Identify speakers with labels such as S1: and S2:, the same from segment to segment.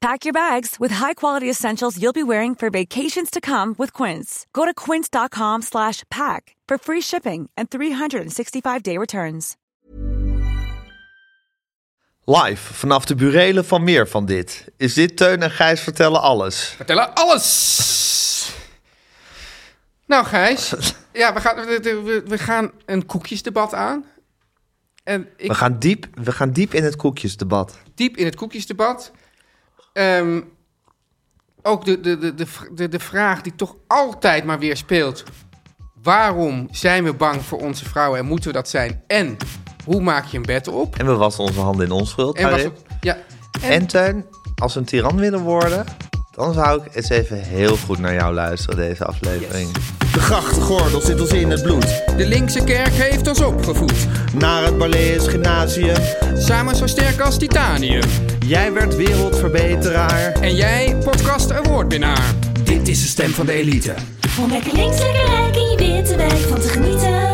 S1: Pack your bags with high-quality essentials you'll be wearing for vacations to come with Quince. Go to quince.com slash pack for free shipping and 365-day returns.
S2: Live vanaf de burelen van meer van dit. Is dit Teun en Gijs vertellen alles?
S3: Vertellen alles! Nou, Gijs. Ja, we gaan, we, we- we gaan een koekjesdebat aan. En ik
S2: We gaan diep, we gaan diep in het koekjesdebat.
S3: diep in het koekjesdebat. Ehm, ook de, de, de, de, v- de, de vraag die toch altijd maar weer speelt. Waarom zijn we bang voor onze vrouwen en moeten we dat zijn? En hoe maak je een bed op?
S2: En we wassen onze handen in onschuld.
S3: En was
S2: Harip.
S3: het- ja, en,
S2: En Teun, als we een tiran willen worden, dan zou ik eens even heel goed naar jou luisteren deze aflevering.
S4: De grachtgordel zit ons in het bloed.
S3: de linkse kerk heeft ons opgevoed.
S4: Naar het Barlees Gymnasium.
S3: Samen zo sterk als titanium.
S4: Jij werd wereldverbeteraar.
S3: En jij, podcast awardwinnaar.
S5: Dit is de stem van de elite.
S6: Om lekker links, lekker rijk in je witte wijk van te genieten.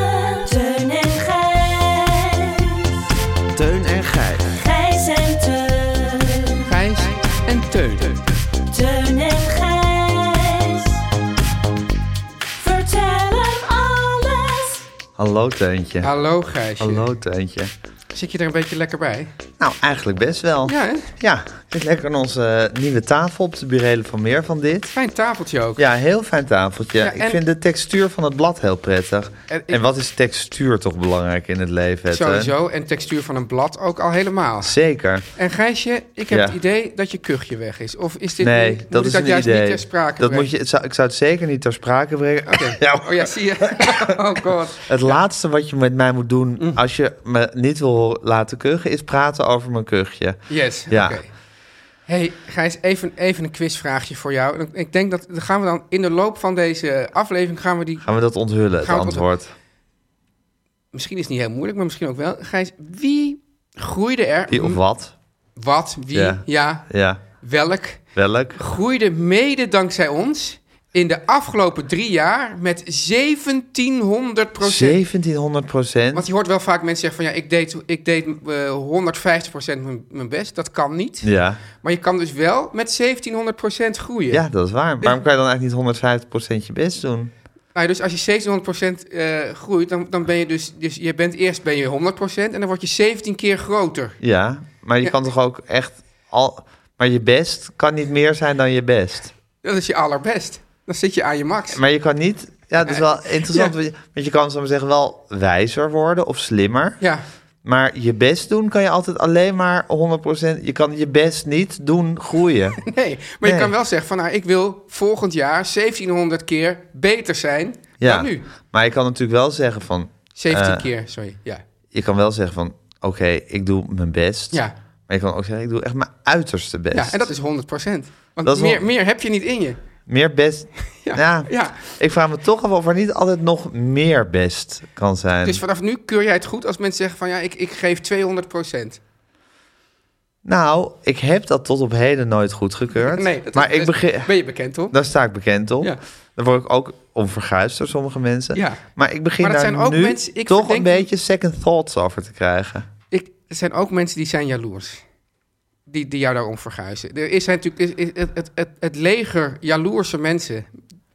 S6: Teun en Gijs.
S4: Teun en Gijs.
S6: Gijs en Teun.
S3: Gijs en Teun.
S6: Teun en Gijs. Vertel hem alles.
S2: Hallo Teuntje.
S3: Hallo Gijsje.
S2: Hallo Teuntje.
S3: Zit je er een beetje lekker bij?
S2: Nou, eigenlijk best wel.
S3: Ja, hè?
S2: Ja, ik zit lekker aan onze eh, nieuwe tafel op de burelen van meer van dit.
S3: Fijn tafeltje ook.
S2: Ja, heel fijn tafeltje.
S3: Ja, en-
S2: Ik vind de textuur van het blad heel prettig.
S3: En
S2: En,
S3: ik-
S2: wat is textuur toch belangrijk in het leven? hè, Teun?
S3: Sowieso. En textuur van een blad ook al helemaal.
S2: Zeker.
S3: En Gijsje, ik heb
S2: Ja.
S3: het idee dat je kuchje weg is. Of is dit
S2: Nee,
S3: niet,
S2: dat
S3: moet
S2: is
S3: ik
S2: een
S3: dat juist
S2: idee.
S3: niet ter sprake
S2: dat
S3: brengen?
S2: moet je, het zou, Ik zou het zeker niet ter sprake brengen. Ja,
S3: Oh ja, zie je. oh god.
S2: Het laatste wat je met mij moet doen
S3: Mm.
S2: als je me niet wil laten kuchen, is praten over mijn kuchje.
S3: Yes,
S2: Ja.
S3: oké. Hey Gijs, even, even een quizvraagje voor jou. En Ik denk dat, dat gaan we dan in de loop van deze aflevering gaan we die...
S2: Gaan we dat onthullen, het
S3: Gaan we het
S2: antwoord?
S3: Misschien is het niet heel moeilijk, maar misschien ook wel. Gijs, wie groeide er...
S2: Wie of wat?
S3: Wat, wie,
S2: Ja.
S3: ja,
S2: Ja,
S3: welk...
S2: welk?
S3: groeide mede dankzij ons in de afgelopen drie jaar met 1700 procent.
S2: 1700 procent.
S3: Want je hoort wel vaak mensen zeggen van ja, ik deed, ik deed eh, 150 procent mijn, mijn best. Dat kan niet.
S2: Ja.
S3: Maar je kan dus wel met 1700 procent groeien.
S2: ja, dat is waar. Waarom kan je dan eigenlijk niet 150 procent je best doen?
S3: Nou ja, dus als je 1700 procent eh, groeit, dan, dan ben je dus, dus je bent eerst ben je 100 procent en dan word je 17 keer groter.
S2: Ja, maar je
S3: Ja.
S2: kan toch ook echt al... Maar je best kan niet meer zijn dan je best.
S3: Dat is je allerbest. Dan zit je aan je max.
S2: Maar je kan niet... Ja, dat is wel interessant.
S3: Ja.
S2: want je- Want je kan, zo maar zeggen, wel wijzer worden of slimmer.
S3: Ja,
S2: Maar je best doen kan je altijd alleen maar 100%. Je kan je best niet doen groeien.
S3: nee. Maar je
S2: Nee.
S3: kan wel zeggen van nou, ik wil volgend jaar 1700 keer beter zijn
S2: Ja.
S3: dan nu.
S2: Maar je kan natuurlijk wel zeggen van.
S3: 17
S2: eh,
S3: keer, sorry. Ja.
S2: Je kan wel zeggen van. Oké, ik doe mijn best.
S3: Ja.
S2: Maar je kan ook zeggen, ik doe echt mijn uiterste best.
S3: ja, en dat is 100%. Want
S2: Dat is wel-
S3: meer, meer heb je niet in je.
S2: Meer best.
S3: Ja,
S2: Ja,
S3: ja.
S2: Ik vraag me toch af of er niet altijd nog meer best kan zijn.
S3: Dus vanaf nu keur jij het goed als mensen zeggen van ja, ik, ik geef 200
S2: Nou, ik heb dat tot op heden nooit goedgekeurd.
S3: Nee, dat
S2: maar
S3: is-
S2: ik
S3: dat is-
S2: begin. Nou-
S3: ben je bekend op.
S2: Daar sta ik bekend op.
S3: Ja.
S2: Daar word ik ook onverguisd door sommige mensen.
S3: Ja.
S2: Maar ik begin
S3: Maar dat
S2: daar
S3: zijn ook
S2: nu
S3: mensen- ik
S2: toch
S3: verdenk-
S2: een beetje second thoughts over te krijgen.
S3: Ik, er zijn ook mensen die zijn jaloers. Die, die jou daarom verguizen. Er is zijn natuurlijk is, is- het, het, het, het leger jaloerse mensen.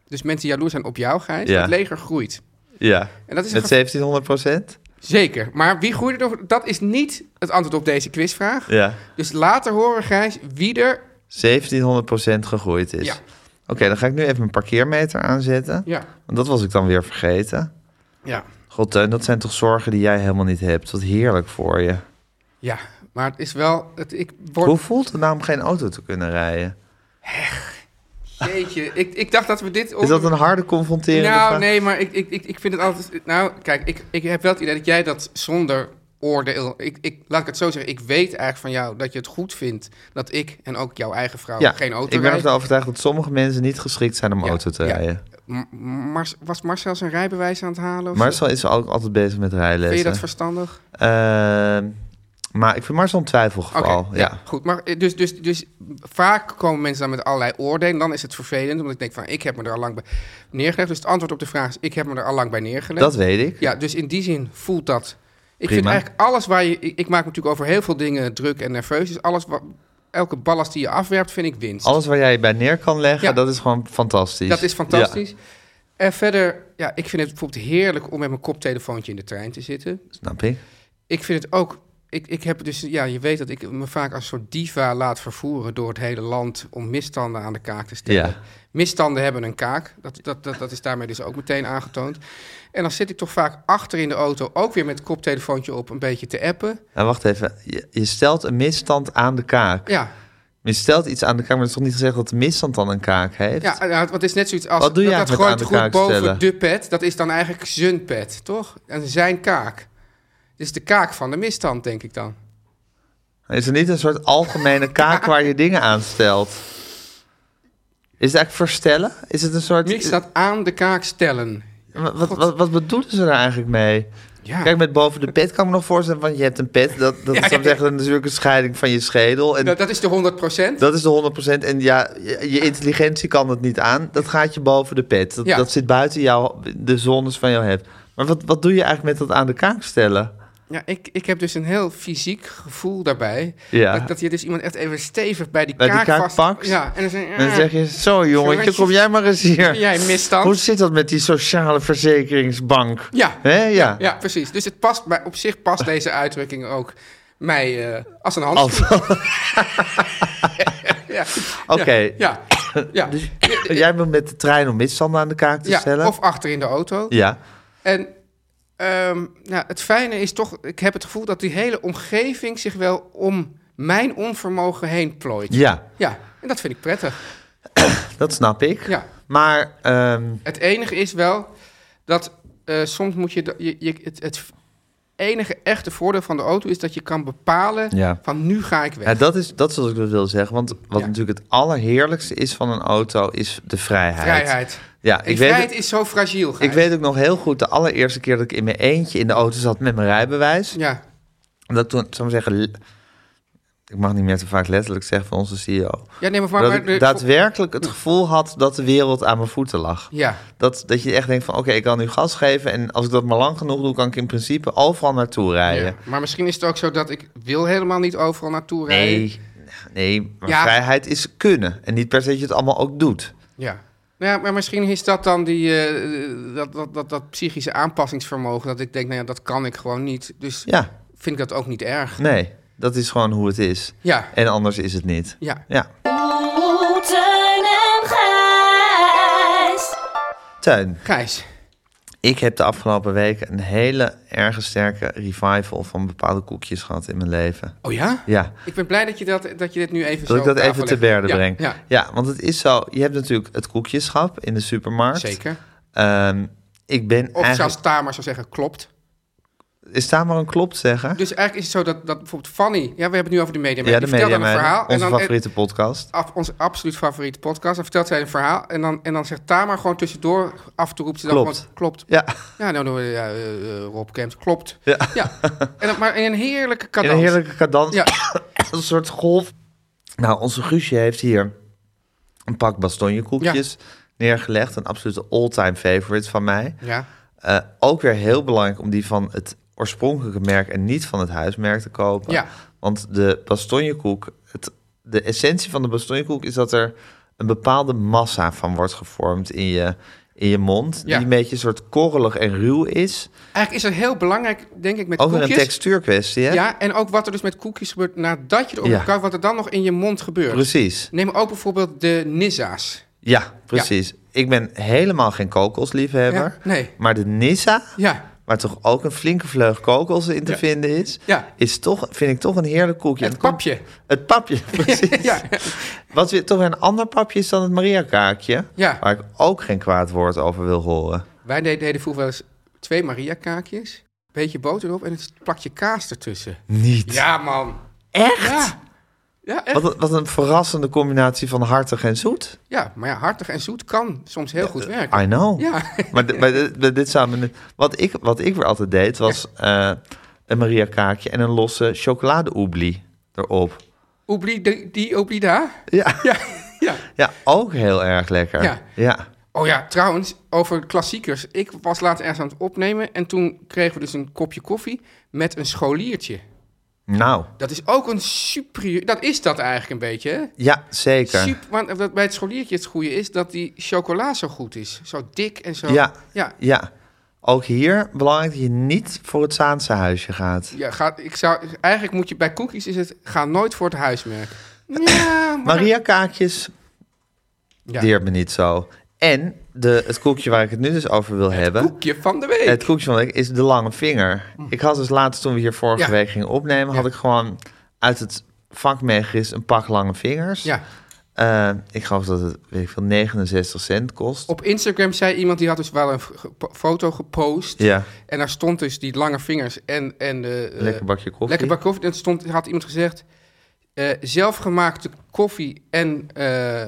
S3: Dus mensen die jaloers zijn op jou, Gijs.
S2: Ja.
S3: Het leger groeit.
S2: Ja.
S3: En dat is een
S2: Met
S3: gevaar-
S2: 1700 procent?
S3: Zeker. Maar wie groeit er? Dat is niet het antwoord op deze quizvraag.
S2: Ja.
S3: Dus later horen, Gijs, wie er...
S2: 1700 procent gegroeid is.
S3: Ja.
S2: Oké, dan ga ik nu even mijn parkeermeter aanzetten.
S3: Ja.
S2: Want dat was ik dan weer vergeten.
S3: Ja.
S2: God, Teun, dat zijn toch zorgen die jij helemaal niet hebt. Wat heerlijk voor je.
S3: Ja, maar het is wel... Het, ik
S2: Hoe
S3: word,
S2: voelt het nou om geen auto te kunnen rijden?
S3: jeetje, ik, ik dacht dat we dit...
S2: Is dat een harde confronterende
S3: Nou,
S2: vraag?
S3: nee, maar ik, ik, ik, ik vind het altijd... Nou, kijk, ik, ik heb wel het idee dat jij dat zonder oordeel... Ik, ik, laat ik het zo zeggen, ik weet eigenlijk van jou dat je het goed vindt... dat ik en ook jouw eigen vrouw
S2: Ja,
S3: geen auto
S2: ik ben
S3: rijden.
S2: ervan overtuigd dat sommige mensen niet geschikt zijn om
S3: Ja,
S2: auto te
S3: ja.
S2: rijden.
S3: M- Mar- was Marcel zijn rijbewijs aan het halen? Of zo?
S2: Marcel is ook altijd bezig met rijlessen.
S3: Vind je dat verstandig?
S2: Ehm, maar ik vind Marcel een
S3: Oké,
S2: twijfelgeval.
S3: ja.
S2: ja.
S3: Goed, maar eh, dus, dus, dus vaak komen mensen dan met allerlei oordelen. Dan is het vervelend, omdat ik denk van, ik heb me er al lang bij neergelegd. Dus het antwoord op de vraag is, ik heb me er al lang bij neergelegd.
S2: Dat weet ik.
S3: Ja, dus in die zin voelt dat. Ik vind
S2: Prima.
S3: eigenlijk alles waar je. Ik, ik maak me natuurlijk over heel veel dingen druk en nerveus. Dus alles wat. Elke ballast die je afwerpt, vind ik winst.
S2: Alles waar jij je bij neer kan leggen,
S3: Ja.
S2: dat is gewoon fantastisch.
S3: dat is fantastisch.
S2: Ja,
S3: En verder, ja, ik vind het bijvoorbeeld heerlijk om met mijn koptelefoontje in de trein te zitten.
S2: snap ik.
S3: Ik vind het ook. Ik, ik heb dus, ja, je weet dat ik me vaak als soort diva laat vervoeren door het hele land om misstanden aan de kaak te stellen.
S2: Ja.
S3: Misstanden hebben een kaak. Dat, dat, dat, dat is daarmee dus ook meteen aangetoond. En dan zit ik toch vaak achter in de auto, ook weer met het koptelefoontje op, een beetje te appen.
S2: Nou, wacht even. Je, je stelt een misstand aan de kaak.
S3: Ja,
S2: Je stelt iets aan de kaak, maar het is toch niet gezegd dat de misstand dan een kaak heeft?
S3: ja nou, want het is net zoiets als...
S2: Wat doe jij
S3: dat, dat
S2: met aan
S3: gooit
S2: de
S3: goed
S2: kaak
S3: boven
S2: stellen?
S3: de pet. Dat is dan eigenlijk zijn pet, toch? En zijn kaak. Dus de kaak van de misstand, denk ik dan.
S2: Is er niet een soort algemene kaak waar je dingen aan stelt? Is het eigenlijk verstellen? Is het een soort...
S3: Niks staat aan de kaak stellen.
S2: Wat, wat, wat, wat bedoelen ze daar eigenlijk mee?
S3: Ja.
S2: Kijk, met boven de pet kan ik me nog voorstellen, want je hebt een pet. Dat, dat
S3: Ja,
S2: is dan
S3: ja.
S2: zeggen natuurlijk een scheiding van je schedel. En
S3: Dat, dat is de 100
S2: Dat is de 100%. En ja, je je intelligentie kan het niet aan. Dat gaat je boven de pet. Dat,
S3: Ja.
S2: dat zit buiten jouw, de zones van jouw hebt. Maar wat, wat doe je eigenlijk met dat aan de kaak stellen?
S3: Ja, ik, ik heb dus een heel fysiek gevoel daarbij.
S2: Ja.
S3: Dat, dat je dus iemand echt even stevig bij die
S2: Bij die
S3: kaak,
S2: kaak
S3: vast...
S2: pakt.
S3: Ja, en dan zeg je...
S2: En dan zeg je, zo jongetje,
S3: Jongetje.
S2: kom jij maar eens hier.
S3: Jij misstand.
S2: Hoe zit dat met die sociale verzekeringsbank?
S3: Ja.
S2: Hè? ja.
S3: Ja, precies. Dus het past, bij- op zich past deze uitdrukking ook mij eh, als een hand.
S2: Als-
S3: Ja.
S2: Oké. Dus-
S3: Ja. ja. ja.
S2: Jij bent met de trein om misstanden aan de kaak te stellen?
S3: ja. Of achter in de auto.
S2: Dus- Ja.
S3: En ehm, nou, het fijne is toch, ik heb het gevoel dat die hele omgeving zich wel om mijn onvermogen heen plooit.
S2: ja,
S3: Ja, en dat vind ik prettig.
S2: dat snap ik.
S3: Ja.
S2: Maar ehm,
S3: Het enige is wel dat eh, soms moet je, da- je, je- het, het enige echte voordeel van de auto is dat je kan bepalen
S2: Ja.
S3: van nu ga ik weg.
S2: Ja, dat is, dat is wat ik dus wil zeggen. Want wat
S3: Ja.
S2: natuurlijk het allerheerlijkste is van een auto, is de vrijheid.
S3: Vrijheid.
S2: Ja,
S3: En
S2: ik
S3: vrijheid
S2: weet,
S3: is zo fragiel.
S2: ik
S3: Gijs.
S2: weet ook nog heel goed de allereerste keer dat ik in mijn eentje in de auto zat met mijn rijbewijs.
S3: Ja,
S2: Dat toen, zou ik maar zeggen, le- ik mag niet meer te vaak letterlijk zeggen van onze CEO.
S3: ja nee, maar... maar,
S2: dat
S3: maar
S2: ik
S3: de-
S2: daadwerkelijk het gevoel had dat de wereld aan mijn voeten lag.
S3: Ja.
S2: Dat, dat je echt denkt van, oké, ik kan nu gas geven... en als ik dat maar lang genoeg doe, kan ik in principe overal naartoe rijden.
S3: Ja. Maar misschien is het ook zo dat ik wil helemaal niet overal naartoe rijden.
S2: Nee, nee maar
S3: Ja.
S2: vrijheid is kunnen. En niet per se dat je het allemaal ook doet.
S3: Ja. Nou ja, maar misschien is dat dan die, eh, dat, dat, dat, dat psychische aanpassingsvermogen. Dat ik denk, nou ja, dat kan ik gewoon niet. Dus
S2: Ja,
S3: vind ik dat ook niet erg.
S2: nee. Dat is gewoon hoe het is.
S3: Ja.
S2: En anders is het niet.
S3: Ja.
S2: Ja.
S6: Oeh, Oh, Teun en Gijs.
S2: Tuin,
S3: Gijs.
S2: ik heb de afgelopen weken een hele erg sterke revival van bepaalde koekjes gehad in mijn leven.
S3: Oh ja?
S2: Ja.
S3: Ik ben blij dat je, dat, dat je dit nu even zo
S2: Dat ik
S3: op
S2: dat
S3: tafel
S2: even te
S3: legt.
S2: berde
S3: ja,
S2: breng.
S3: Ja,
S2: want het is zo. Je hebt natuurlijk het koekjeschap in de supermarkt.
S3: zeker.
S2: Ehm, ik ben
S3: Of
S2: eigenlijk...
S3: zoals Tamar zou zeggen, klopt.
S2: Is daar maar een klopt zeggen?
S3: Dus eigenlijk is het zo dat, dat bijvoorbeeld Fanny... Ja, we hebben het nu over de media.
S2: ja,
S3: die
S2: de
S3: vertelt
S2: media
S3: dan een verhaal.
S2: Onze
S3: en dan,
S2: favoriete podcast.
S3: af, onze absoluut favoriete podcast. Dan vertelt zij een verhaal. En dan, en dan zegt Tamar gewoon tussendoor af en toe roept ze dan
S2: Klopt.
S3: gewoon... Klopt.
S2: Ja.
S3: Ja, nou doen we ja, eh, eh, Rob Kemps. Klopt.
S2: Ja.
S3: En dan, maar in een heerlijke
S2: In
S3: cadans.
S2: een heerlijke cadans.
S3: Ja.
S2: een soort golf. Nou, onze Guusje heeft hier een pak bastonjekoekjes neergelegd. Een absolute all-time favorite van mij.
S3: Ja.
S2: Eh, ook weer heel belangrijk om die van het oorspronkelijke merk en niet van het huismerk te kopen.
S3: Ja.
S2: Want de bastonjekoek, het, de essentie van de bastonjekoek is dat er een bepaalde massa van wordt gevormd in je, in je mond.
S3: Ja.
S2: Die een beetje een soort korrelig en ruw is.
S3: Eigenlijk is het heel belangrijk, denk ik, met
S2: Over een
S3: koekjes.
S2: textuurkwestie, hè?
S3: Ja, en ook wat er dus met koekjes gebeurt nadat je erop
S2: Ja.
S3: ja. wat er dan nog in je mond gebeurt.
S2: Precies.
S3: Neem ook bijvoorbeeld de Nissa's.
S2: Ja, precies. Ik ben helemaal geen kokosliefhebber.
S3: Ja, nee.
S2: Maar de Nissa,
S3: Ja,
S2: maar toch ook een flinke vleug kokos in te
S3: Ja.
S2: vinden is,
S3: Ja.
S2: is toch, vind ik toch een heerlijk koekje.
S3: Het
S2: En komt-
S3: papje.
S2: Het papje, precies.
S3: Ja.
S2: Wat weer toch weer een ander papje is dan het Maria-kaakje,
S3: Ja.
S2: waar ik ook geen kwaad woord over wil horen.
S3: Wij de- deden vroeger wel eens twee Maria-kaakjes, een beetje boter erop en een plakje kaas ertussen.
S2: Niet.
S3: Ja, man.
S2: Echt?
S3: Ja. Ja, echt.
S2: Wat, een- wat een verrassende combinatie van hartig en zoet.
S3: ja, maar ja, hartig en zoet kan soms heel
S2: eh,
S3: goed werken.
S2: I know.
S3: Ja.
S2: Maar, di- maar dit, maar dit zou me niet- wat, ik, wat ik weer altijd deed, was eh, een Maria kaakje en een losse chocoladeoublie erop.
S3: Oublie de- die, oublie daar.
S2: Ja. Ja.
S3: Ja.
S2: ook heel erg lekker.
S3: Ja.
S2: ja.
S3: Oh ja, trouwens, over klassiekers. Ik was laatst ergens aan het opnemen en toen kregen we dus een kopje koffie met een scholiertje.
S2: Nou,
S3: Dat is ook een superieur... Dat is dat eigenlijk een beetje, hè?
S2: ja, zeker.
S3: Super, want wat bij het scholiertje het goede is dat die chocola zo goed is. Zo dik en zo...
S2: Ja.
S3: Ja,
S2: Ja. Ook hier belangrijk dat je niet voor het Zaanse huisje gaat.
S3: ja ga, ik zou, eigenlijk moet je bij cookies is het... Ga nooit voor het huismerk. Ja, maar...
S2: Maria kaakjes
S3: Ja.
S2: deert me niet zo. En de, het koekje waar ik het nu dus over wil hebben.
S3: Koekje van de week.
S2: Het koekje van de week is de lange vinger. Ik had dus laatst toen we hier vorige
S3: Ja.
S2: week gingen opnemen, had
S3: Ja.
S2: ik gewoon uit het vakmeegeris een pak lange vingers.
S3: Ja.
S2: Eh, ik geloof dat het weet ik veel, 69 cent kost.
S3: Op Instagram zei iemand, die had dus wel een f- ge- po- foto gepost.
S2: Ja.
S3: En daar stond dus die lange vingers en... en de, eh,
S2: Lekker bakje koffie.
S3: Lekker bak koffie. En stond, had iemand gezegd, eh, zelfgemaakte koffie en eh,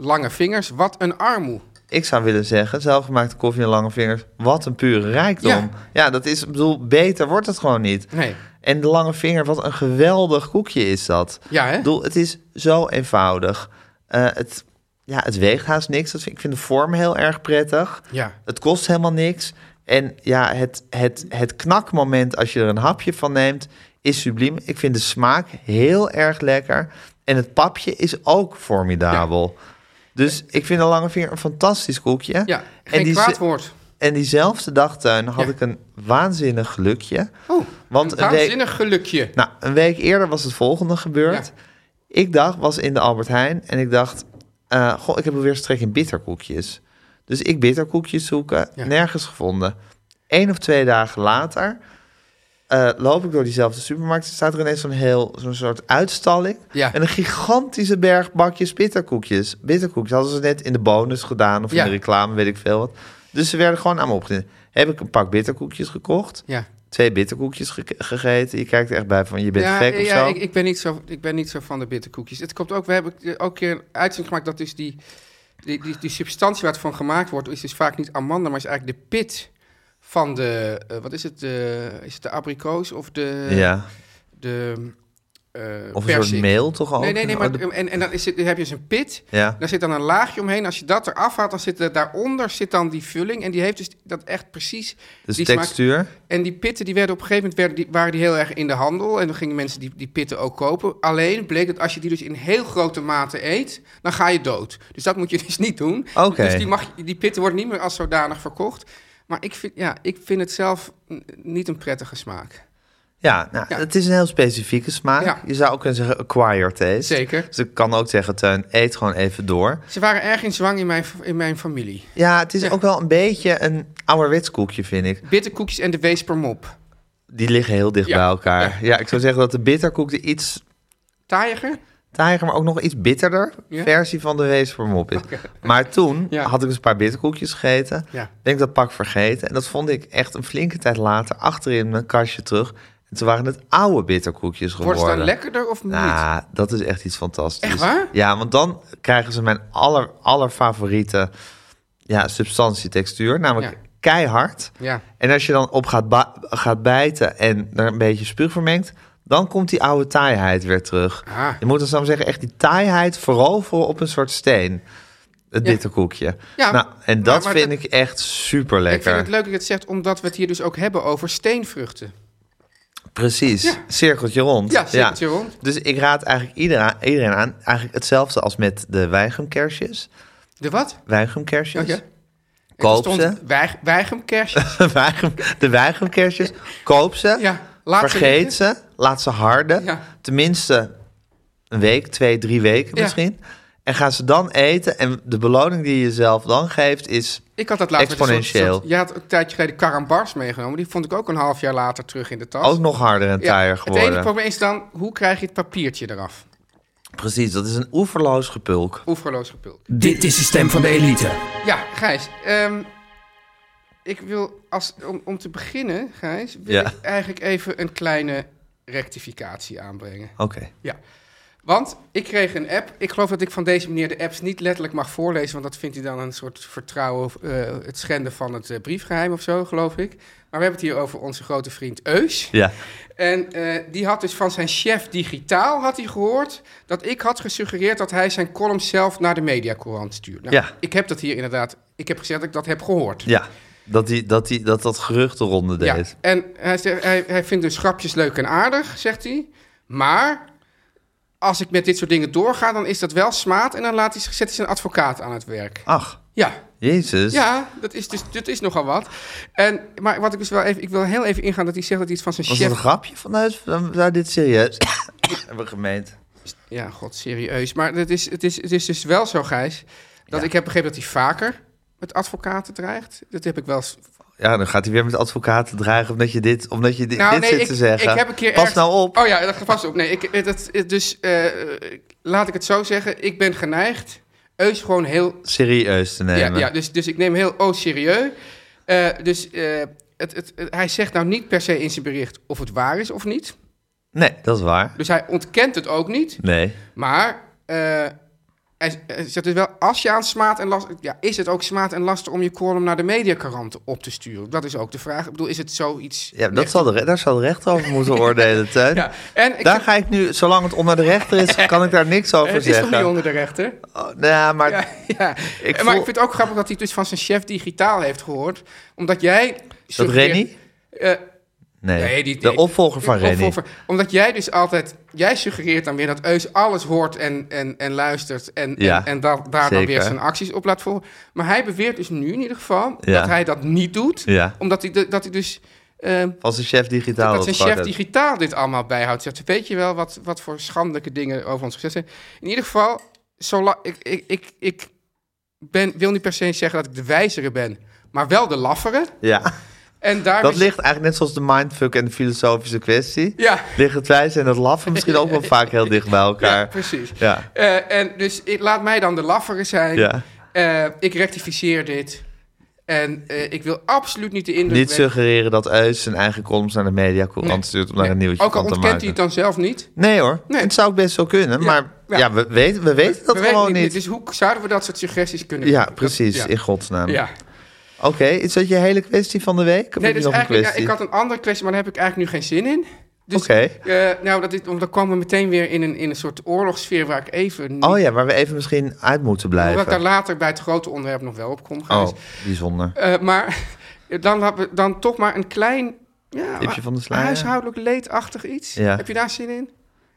S3: lange vingers. Wat een armoe.
S2: Ik zou willen zeggen, zelfgemaakte koffie en lange vingers. Wat een pure rijkdom.
S3: Ja.
S2: Ja, dat is, ik bedoel, beter wordt het gewoon niet.
S3: Nee.
S2: En de lange vinger, wat een geweldig koekje is dat.
S3: Ja, hè?
S2: Ik bedoel, het is zo eenvoudig. Eh, het, ja, het weegt haast niks. Dat vind, ik vind de vorm heel erg prettig.
S3: Ja.
S2: Het kost helemaal niks. En ja, het, het, het knakmoment als je er een hapje van neemt, is subliem. Ik vind de smaak heel erg lekker. En het papje is ook formidabel. Dus ik vind de lange vinger een fantastisch koekje.
S3: Ja,
S2: en,
S3: geen
S2: die,
S3: kwaad
S2: ze-
S3: woord.
S2: en diezelfde dagtuin had
S3: Ja.
S2: ik een waanzinnig gelukje.
S3: Oh,
S2: Want
S3: een
S2: een week-
S3: waanzinnig gelukje.
S2: Nou, een week eerder was het volgende gebeurd.
S3: Ja.
S2: Ik dacht, was in de Albert Heijn en ik dacht, eh, goh, ik heb weer strek in bitterkoekjes. Dus ik bitterkoekjes zoeken,
S3: Ja.
S2: nergens gevonden. Eén of twee dagen later eh, loop ik door diezelfde supermarkt. Er staat er ineens zo'n heel, zo'n soort uitstalling.
S3: Ja.
S2: En een gigantische berg bakjes bitterkoekjes. Bitterkoekjes hadden ze net in de bonus gedaan of
S3: Ja.
S2: in de reclame, weet ik veel wat. Dus ze werden gewoon aan me opgezet. Heb ik een pak bitterkoekjes gekocht
S3: Ja,
S2: twee bitterkoekjes ge- gegeten. Je kijkt er echt bij van je bent
S3: ja,
S2: gek of
S3: ja
S2: zo.
S3: ik, ik, ben niet zo, ik ben niet zo van de bitterkoekjes. Het komt ook, we hebben eh, ook een keer een uitzending gemaakt dat dus die, die, die, die substantie waar het van gemaakt wordt, is dus vaak niet amanda, maar is eigenlijk de pit van de, eh, wat is het, de, is het de abrikoos of de,
S2: ja.
S3: de eh,
S2: Of een
S3: persik?
S2: soort meel toch ook?
S3: Nee, nee, nee, maar
S2: Oh, de-
S3: en, en dan, is het, dan heb je dus een pit.
S2: Ja.
S3: Daar zit dan een laagje omheen. Als je dat eraf haalt, dan zit er daaronder zit dan die vulling. En die heeft dus dat echt precies...
S2: Dus
S3: die smaak-
S2: textuur.
S3: En die pitten die werden op een gegeven moment werden die, waren die heel erg in de handel. En dan gingen mensen die, die pitten ook kopen. Alleen bleek dat als je die dus in heel grote mate eet, dan ga je dood. Dus dat moet je dus niet doen.
S2: Oké.
S3: Dus die, mag, die pitten worden niet meer als zodanig verkocht. Maar ik vind, ja, ik vind het zelf mm, niet een prettige smaak.
S2: Ja, nou,
S3: Ja.
S2: het is een heel specifieke smaak.
S3: Ja.
S2: Je zou ook kunnen zeggen acquired taste.
S3: Zeker.
S2: Dus ik kan ook zeggen, Teun, eet gewoon even door.
S3: Ze waren erg in zwang in mijn, in mijn familie.
S2: Ja, het is
S3: Ja.
S2: ook wel een beetje een ouderwets koekje, vind ik.
S3: Bitterkoekjes en de weespermop.
S2: Die liggen heel dicht
S3: Ja.
S2: bij elkaar. Ja. ik zou zeggen dat de bitterkoek de iets
S3: Taaiger?
S2: taaiger, maar ook nog iets bitterder
S3: Ja.
S2: versie van de weesvermop is. Maar toen
S3: Ja.
S2: had ik dus een paar bitterkoekjes gegeten.
S3: Ja.
S2: Ben ik dat pak vergeten. En dat vond ik echt een flinke tijd later achterin mijn kastje terug. En toen waren het oude bitterkoekjes geworden.
S3: Wordt het dan lekkerder of niet?
S2: Nou, dat is echt iets fantastisch.
S3: Echt waar?
S2: Ja, want dan krijgen ze mijn aller, allerfavoriete ja, substantie, textuur. Namelijk
S3: Ja.
S2: keihard.
S3: Ja.
S2: En als je dan op gaat, ba- gaat bijten en er een beetje spuug vermengt... dan komt die oude taaiheid weer terug.
S3: Ah.
S2: Je moet dan zo zeggen, echt die taaiheid veroveren op een soort steen. Het
S3: Ja.
S2: bitterkoekje.
S3: Ja.
S2: Nou, en
S3: Maar-
S2: dat
S3: maar
S2: vind ik
S3: dat-
S2: echt super
S3: Ik vind
S2: lekker.
S3: het leuk dat je het zegt, omdat we het hier dus ook hebben over steenvruchten.
S2: Precies.
S3: Ja.
S2: Cirkeltje rond.
S3: Ja, cirkeltje rond.
S2: Dus ik raad eigenlijk iedereen, iedereen aan... eigenlijk hetzelfde als met de weigumkersjes.
S3: De wat?
S2: Weigumkersjes.
S3: Oké.
S2: Koop
S3: Er
S2: ze.
S3: Oh stond weig, weigemkersjes.
S2: Weigum- de weigumkersjes. Koop ze.
S3: Ja, laat ze
S2: vergeet ze. Laat ze harden.
S3: Ja.
S2: Tenminste een week, twee, drie weken
S3: Ja.
S2: misschien. En gaan ze dan eten. En de beloning die je jezelf dan geeft is...
S3: Ik had dat laatst met een soort-
S2: Exponentieel.
S3: soort- je had een tijdje geleden karambars meegenomen. Die vond ik ook een half jaar later terug in de tas.
S2: Ook nog harder en
S3: Ja,
S2: taaier
S3: Het enige
S2: geworden.
S3: probleem is dan, hoe krijg je het papiertje eraf?
S2: Precies, dat is een oeverloos gepulk.
S3: Oeverloos gepulk.
S5: Dit is de stem van de elite.
S3: Ja, Gijs. ehm, ik wil, als, om, om te beginnen, Gijs, wil
S2: Ja.
S3: ik eigenlijk even een kleine rectificatie aanbrengen.
S2: Oké.
S3: Ja. Want ik kreeg een app. Ik geloof dat ik van deze meneer de apps niet letterlijk mag voorlezen. Want dat vindt hij dan een soort vertrouwen. of, eh, het schenden van het eh, briefgeheim of zo, geloof ik. Maar we hebben het hier over onze grote vriend Eus.
S2: Ja.
S3: En eh, die had dus van zijn chef digitaal had hij gehoord dat ik had gesuggereerd dat hij zijn column zelf naar de mediacourant stuurt. Nou,
S2: Ja.
S3: Ik heb dat hier inderdaad, ik heb gezegd dat ik dat heb gehoord.
S2: Ja, dat die, dat, die, dat, dat gerucht de ronde
S3: Ja,
S2: deed.
S3: En hij, zegt, hij, hij vindt dus grapjes leuk en aardig, zegt hij. Maar als ik met dit soort dingen doorga, dan is dat wel smaad en dan laat hij, zich- zet hij zijn advocaat aan het werk.
S2: Ach,
S3: Ja,
S2: jezus.
S3: ja dat, is dus, dat is nogal wat. En, maar wat ik dus wel even, ik wil heel even ingaan dat hij zegt dat hij het van zijn
S2: Was dat
S3: chef
S2: een grapje vanuit? Dan zou dit serieus hebben gemeend.
S3: Ja, god, serieus. Maar het is, het is, het is dus wel zo, Gijs, dat ik heb begrepen dat hij vaker met advocaten dreigt. Dat heb ik wel eens...
S2: Ja, dan gaat hij weer met advocaten dreigen omdat je dit, omdat je dit,
S3: Nou,
S2: dit
S3: nee,
S2: zit
S3: ik,
S2: te zeggen.
S3: ik heb een keer
S2: Pas
S3: ergens-
S2: nou op.
S3: Oh ja, dat gaat vast op. Nee, ik, dat, dus eh, laat ik het zo zeggen. Ik ben geneigd Eus gewoon heel...
S2: Serieus te
S3: Ja,
S2: nemen.
S3: ja, dus, dus ik neem heel oh serieus. Eh, dus eh, het, het, het- hij zegt nou niet per se in zijn bericht of het waar is of niet.
S2: Nee, dat is waar.
S3: Dus hij ontkent het ook niet.
S2: Nee.
S3: Maar eh, hij hij zegt dus wel, als je aan smaad en last... Ja, is het ook smaad en laster om je column naar de mediakarant op te sturen? Dat is ook de vraag. Ik bedoel, is het zoiets...
S2: Ja, dat zal de, re- daar zal de rechter over moeten oordelen, Teun.
S3: Ja, en ik
S2: daar
S3: zeg-
S2: ga ik nu, zolang het onder de rechter is, kan ik daar niks over
S3: Eh, het is
S2: zeggen.
S3: nog niet onder de rechter.
S2: Oh, nou ja, maar
S3: Ja, ja.
S2: Ik
S3: Eh,
S2: voel-
S3: Maar ik vind het ook grappig dat hij het dus van zijn chef digitaal heeft gehoord. Omdat jij...
S2: dat
S3: suggereert-
S2: Rennie?
S3: Eh,
S2: Nee,
S3: nee, die-
S2: de
S3: die-
S2: opvolger van
S3: de
S2: Rennie.
S3: opvolger. Omdat jij dus altijd... Jij suggereert dan weer dat Eus alles hoort en, en, en luistert... en,
S2: Ja,
S3: en, en da- daar dan
S2: zeker.
S3: weer zijn acties op laat volgen. Maar hij beweert dus nu in ieder geval
S2: Ja.
S3: dat hij dat niet doet.
S2: Ja,
S3: Omdat hij, de- dat hij dus... eh,
S2: als een chef digitaal.
S3: dat
S2: dat
S3: zijn chef
S2: gaat-
S3: digitaal dit allemaal bijhoudt. Zegt, weet je wel wat, wat voor schandelijke dingen over ons gezegd zijn? In ieder geval, zolang, ik, ik, ik, ik ben, wil niet per se zeggen dat ik de wijzere ben, maar wel de laffere.
S2: Ja.
S3: En daar dus-
S2: Dat ligt eigenlijk net zoals de mindfuck en de filosofische kwestie.
S3: Ja.
S2: Ligt het wijzen en het laffen misschien ook wel vaak heel dicht bij
S3: Ja,
S2: elkaar.
S3: precies.
S2: Ja.
S3: Eh, en dus ik, laat mij dan de laffere zijn.
S2: Ja.
S3: Eh, ik rectificeer dit. En eh, ik wil absoluut niet de indruk
S2: Niet
S3: wekken-
S2: suggereren dat Eus zijn eigen columns naar de media
S3: Nee.
S2: stuurt om daar een
S3: Nee.
S2: nieuwtje
S3: Ook al
S2: van te
S3: ontkent hij
S2: maken.
S3: het dan zelf niet.
S2: Nee hoor,
S3: Nee.
S2: het zou best wel kunnen.
S3: Ja.
S2: Maar
S3: Ja.
S2: ja. we, weten, we weten dat
S3: We weten
S2: gewoon
S3: het
S2: niet.
S3: Dus hoe zouden we dat soort suggesties kunnen
S2: Ja,
S3: dat-
S2: precies,
S3: ja.
S2: in godsnaam.
S3: ja.
S2: Oké, is dat je hele kwestie van de week? Of
S3: Nee,
S2: heb je
S3: dus
S2: nog een
S3: eigenlijk, ja,
S2: kwestie?
S3: ik had een andere kwestie, maar daar heb ik eigenlijk nu geen zin in. Dus,
S2: Oké.
S3: eh, nou, dat is, want dan kwamen we meteen weer in een, in een soort oorlogssfeer waar ik even... niet-
S2: Oh ja, waar we even misschien uit moeten
S3: Hoewel ik daar
S2: blijven.
S3: later bij het grote onderwerp nog wel op kom,
S2: Oh,
S3: Gijs.
S2: bijzonder.
S3: Eh, maar dan, laten we dan toch maar een klein... Ja,
S2: Tipje van de sluier.
S3: Huishoudelijk leedachtig iets.
S2: Ja.
S3: Heb je daar zin in?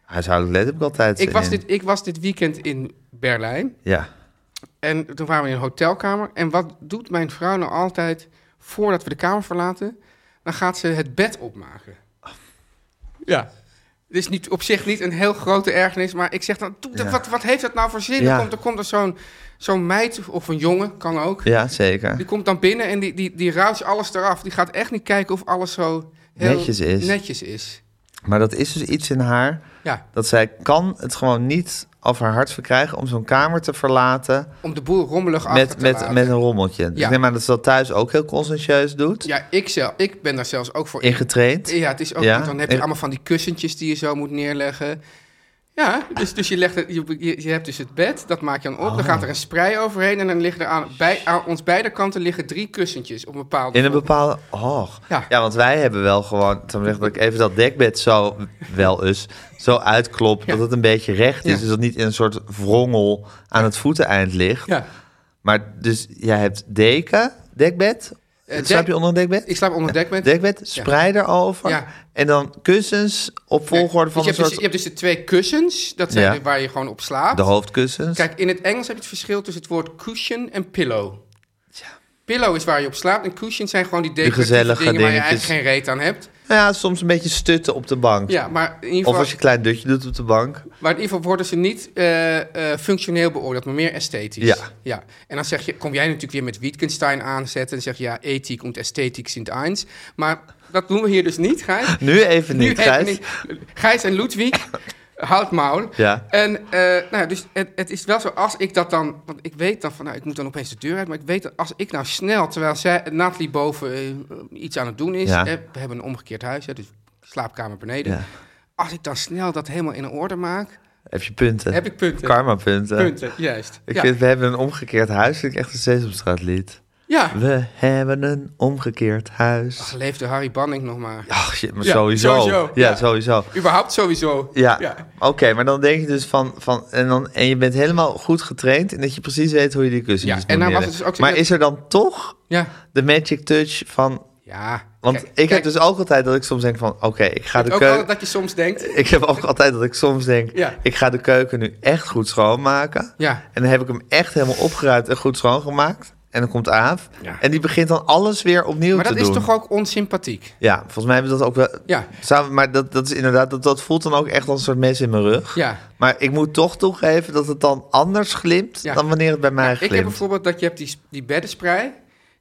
S2: Huishoudelijk let heb ik altijd
S3: Ik
S2: zin
S3: was,
S2: in.
S3: dit, ik was dit weekend in Berlijn.
S2: Ja,
S3: En toen waren we in een hotelkamer. En wat doet mijn vrouw nou altijd voordat we de kamer verlaten? Dan gaat ze het bed opmaken. Ja. Het is niet, op zich niet een heel grote ergernis, maar ik zeg dan, doe dat,
S2: Ja.
S3: wat, wat heeft dat nou voor zin?
S2: Ja.
S3: Er komt er, komt er zo'n zo'n meid of een jongen, kan ook.
S2: ja zeker.
S3: Die komt dan binnen en die, die, die ruist alles eraf. Die gaat echt niet kijken of alles zo heel
S2: Netjes is.
S3: netjes is.
S2: Maar dat is dus iets in haar
S3: Ja,
S2: dat zij kan het gewoon niet af haar hart verkrijgen om zo'n kamer te verlaten
S3: om de boel rommelig achter
S2: met,
S3: te
S2: met,
S3: laten.
S2: met een rommeltje. Dus
S3: Ja.
S2: ik neem aan dat ze dat thuis ook heel consciëntieus doet,
S3: Ja, ik, zelf, ik ben daar zelfs ook voor in.
S2: ingetraind.
S3: Ja, het is ook
S2: Ja?
S3: goed. Dan heb je
S2: En-
S3: allemaal van die kussentjes die je zo moet neerleggen. Ja, dus, dus je, legt het, je, je- je hebt dus het bed, dat maak je dan op.
S2: Ah.
S3: Dan gaat er een sprei overheen en dan liggen er aan, bij, aan ons beide kanten liggen drie kussentjes op een bepaalde
S2: In een
S3: vorm.
S2: bepaalde... Och.
S3: Ja.
S2: Ja. want wij hebben wel gewoon... Dan zeg dat ik even dat dekbed zo wel eens zo uitklop... dat het een beetje recht is.
S3: Ja.
S2: Dus dat niet in een soort wrongel aan het voeteneind ligt.
S3: Ja,
S2: Maar dus jij hebt deken, dekbed.
S3: Eh,
S2: Slaap
S3: dek-
S2: je onder een dekbed?
S3: ik slaap onder het dekbed.
S2: dekbed, sprei erover.
S3: Ja.
S2: En dan kussens op volgorde
S3: Dus
S2: van
S3: je,
S2: een
S3: hebt dus,
S2: soort...
S3: je hebt dus de twee kussens, dat zijn
S2: Ja.
S3: de- waar je gewoon op slaapt.
S2: De hoofdkussens.
S3: Kijk, in het Engels heb je het verschil tussen het woord cushion en pillow. Pillow is waar je op slaapt en cushion zijn gewoon die decoratieve
S2: gezellige
S3: dingen waar je
S2: dingetjes.
S3: eigenlijk geen reet aan hebt.
S2: Nou ja, soms een beetje stutten op de bank.
S3: Ja, maar in ieder
S2: Of
S3: geval,
S2: als je een klein dutje doet op de bank.
S3: maar in ieder geval worden ze niet eh, eh, functioneel beoordeeld, maar meer esthetisch.
S2: Ja.
S3: ja. En dan zeg je, kom jij natuurlijk weer met Wittgenstein aanzetten en zeg je, ja, ethiek komt esthetiek sint eins. Maar dat doen we hier dus niet, Gijs.
S2: Nu even niet,
S3: even
S2: Gijs.
S3: niet. Gijs en Ludwig, houd maul.
S2: Ja.
S3: En eh, nou ja, dus het, het is wel zo, als ik dat dan... Want ik weet dan van, nou, ik moet dan opeens de deur uit. Maar ik weet dat als ik nou snel, terwijl zij, Nathalie boven eh, iets aan het doen is...
S2: Ja.
S3: hè, we hebben een omgekeerd huis, hè, dus slaapkamer beneden.
S2: Ja.
S3: Als ik dan snel dat helemaal in orde maak,
S2: Heb je punten?
S3: heb ik punten.
S2: Karma punten.
S3: punten, juist.
S2: eh, Ik
S3: ja.
S2: vind, we hebben een omgekeerd huis. Vind ik echt een Sesamstraat lied.
S3: ja.
S2: We hebben een omgekeerd
S3: Ach,
S2: huis.
S3: leefde Harry Banning nog maar.
S2: Ach, shit, maar
S3: Ja,
S2: sowieso.
S3: sowieso,
S2: Ja,
S3: ja.
S2: sowieso.
S3: Überhaupt sowieso.
S2: Ja,
S3: ja.
S2: oké, maar dan denk je dus van, van en, dan, en je bent helemaal goed getraind en dat je precies weet hoe je die kussens
S3: Ja,
S2: moet
S3: en nou was
S2: neerleggen.
S3: het dus ook zo
S2: Maar
S3: dat-
S2: is er dan toch
S3: Ja.
S2: de magic touch van...
S3: Ja.
S2: Want
S3: Kijk,
S2: ik heb
S3: kijk,
S2: dus ook altijd dat ik soms denk van, oké, ik ga de
S3: ook
S2: keuken...
S3: altijd dat je soms denkt...
S2: Ik heb ook altijd dat ik soms denk,
S3: Ja.
S2: ik ga de keuken nu echt goed schoonmaken.
S3: Ja.
S2: En dan heb ik hem echt helemaal opgeruimd en goed schoongemaakt. En dan komt Aaf.
S3: Ja.
S2: En die begint dan alles weer opnieuw
S3: Maar
S2: te
S3: dat
S2: doen.
S3: is toch ook onsympathiek?
S2: Ja, volgens mij hebben we dat ook wel...
S3: Ja.
S2: Samen- maar dat, dat is inderdaad, dat, dat voelt dan ook echt als een soort mes in mijn rug.
S3: Ja.
S2: Maar ik moet toch toegeven dat het dan anders glimt
S3: Ja.
S2: dan wanneer het bij mij
S3: Ik
S2: glimt.
S3: heb bijvoorbeeld dat je hebt die, die beddensprei.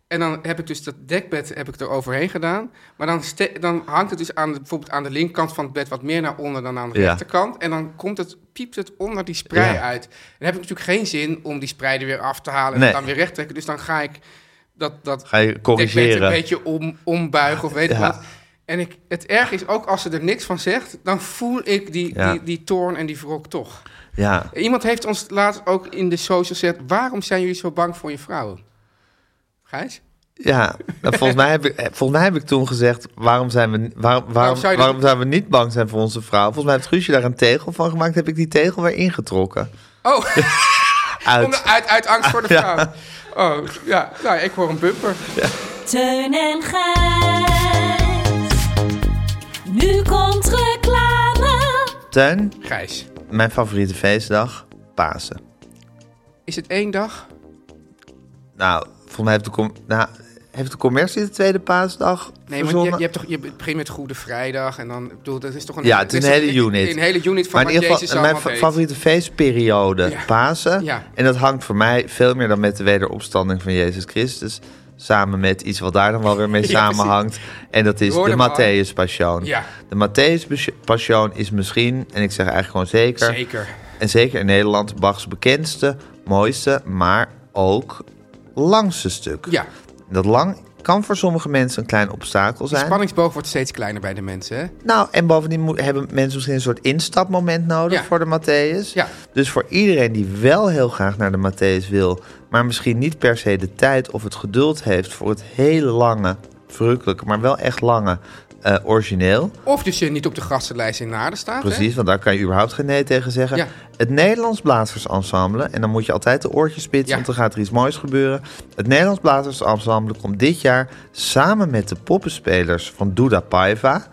S3: En dan heb ik dus dat dekbed heb ik er overheen gedaan. Maar dan, ste- dan hangt het dus aan de, bijvoorbeeld aan de linkerkant van het bed wat meer naar onder dan aan de
S2: Ja.
S3: rechterkant. En dan komt het, piept het onder die sprei
S2: Ja.
S3: uit. Dan heb ik natuurlijk geen zin om die sprei er weer af te halen en
S2: Nee.
S3: het dan weer recht trekken. Dus dan ga ik dat, dat
S2: Ga je
S3: dekbed
S2: corrigeren.
S3: een beetje om, ombuigen of weet ik
S2: Ja.
S3: wat. En ik, het erg is ook als ze er niks van zegt, dan voel ik die,
S2: Ja.
S3: die, die toorn en die wrok toch.
S2: Ja.
S3: Iemand heeft ons laatst ook in de social gezegd... waarom zijn jullie zo bang voor je vrouwen? Gijs?
S2: Ja, nou, volgens, mij heb ik, eh, volgens mij heb ik toen gezegd... waarom zijn we, waarom, waarom, waarom,
S3: zou je
S2: zou
S3: dat-
S2: we niet bang zijn voor onze vrouw? Volgens mij heeft Guusje daar een tegel van gemaakt. Heb ik die tegel weer ingetrokken.
S3: Oh,
S2: Uit.
S3: om de- uit, uit angst voor de vrouw. Oh, ja. Nou, ik hoor een bumper.
S6: Teun en Gijs. Nu komt reclame.
S2: Tuin,
S3: Gijs,
S2: mijn favoriete feestdag, Pasen.
S3: is het één dag?
S2: Nou, volgens mij heeft de, com- nou, heeft de commercie de tweede paasdag
S3: Nee, want je,
S2: verzonnen?
S3: je, hebt toch, je begint met Goede Vrijdag en dan... ik Bedoel, dat is toch een,
S2: Ja, het is een hele unit.
S3: Een, hele unit van
S2: maar in ieder
S3: wat
S2: geval,
S3: Jezus
S2: mijn
S3: allemaal
S2: fa-
S3: deed.
S2: favoriete feestperiode,
S3: Ja.
S2: Pasen.
S3: Ja.
S2: En dat hangt voor mij veel meer dan met de wederopstanding van Jezus Christus. Samen met iets wat daar dan wel weer mee samenhangt. En dat is
S3: Je hoorde
S2: de
S3: hem al.
S2: Matthäus Passion.
S3: Ja.
S2: De Matthäus Pas- Passion is misschien, en ik zeg eigenlijk gewoon zeker...
S3: Zeker.
S2: En zeker in Nederland, Bach's bekendste, mooiste, maar ook langste stuk.
S3: Ja.
S2: Dat lang kan voor sommige mensen een klein obstakel
S3: De
S2: zijn.
S3: spanningsboog wordt steeds kleiner bij de mensen, hè?
S2: Nou, en bovendien moet- hebben mensen misschien een soort instapmoment nodig
S3: Ja.
S2: voor de Matthäus.
S3: Ja.
S2: Dus voor iedereen die wel heel graag naar de Matthäus wil, maar misschien niet per se de tijd of het geduld heeft voor het hele lange, verrukkelijke, maar wel echt lange eh, origineel.
S3: Of dus je niet op de gastenlijst in Naarden staat, hè?
S2: Precies, want daar kan je überhaupt geen nee tegen zeggen.
S3: Ja.
S2: Het Nederlands Blazersensemble, en dan moet je altijd de oortjes spitsen,
S3: Ja.
S2: want er gaat er iets moois gebeuren. Het Nederlands Blazersensemble komt dit jaar samen met de poppenspelers van Duda Paiva.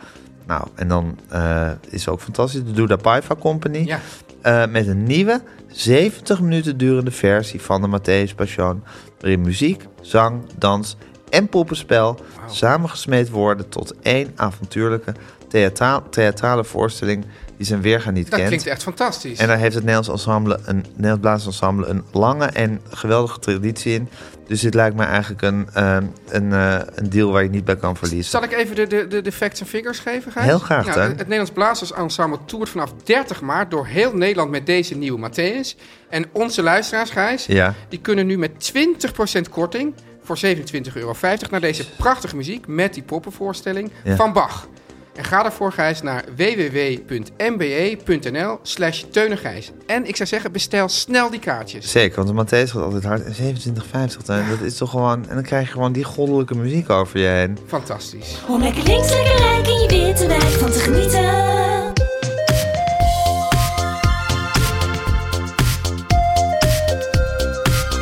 S2: Nou, en dan eh, is ook fantastisch, de Duda Paiva Company.
S3: Ja.
S2: Eh, met een nieuwe 70 minuten durende versie van de Matthäus Passion. Waarin muziek, zang, dans en poppenspel samengesmeed worden tot één avontuurlijke theatra- theatrale voorstelling die zijn weerga niet
S3: Dat
S2: kent.
S3: klinkt echt fantastisch.
S2: En daar heeft het Nederlands, ensemble een, Nederlands blaasensemble een lange en geweldige traditie in. Dus dit lijkt me eigenlijk een, eh, een, eh, een deal waar je niet bij kan verliezen.
S3: Zal ik even de, de, de, de facts en figures geven, Gijs?
S2: Heel graag,
S3: nou,
S2: hè?
S3: Het Nederlands Blazers Ensemble toert vanaf 30 maart door heel Nederland met deze nieuwe Matthäus. En onze luisteraars, Gijs,
S2: Ja.
S3: die kunnen nu met 20% korting voor 27,50 euro naar deze prachtige muziek met die poppenvoorstelling
S2: Ja.
S3: van Bach. En ga daarvoor, Gijs, naar www.mbe.nl slash teunengijs. En ik zou zeggen, bestel snel die kaartjes.
S2: Zeker, want de Matthäus gaat altijd hard. En 27,50, dan, dat is toch gewoon... En dan krijg je gewoon die goddelijke muziek over je heen.
S3: Fantastisch.
S6: Om lekker links, lekker rijk in je witte wijk van te genieten.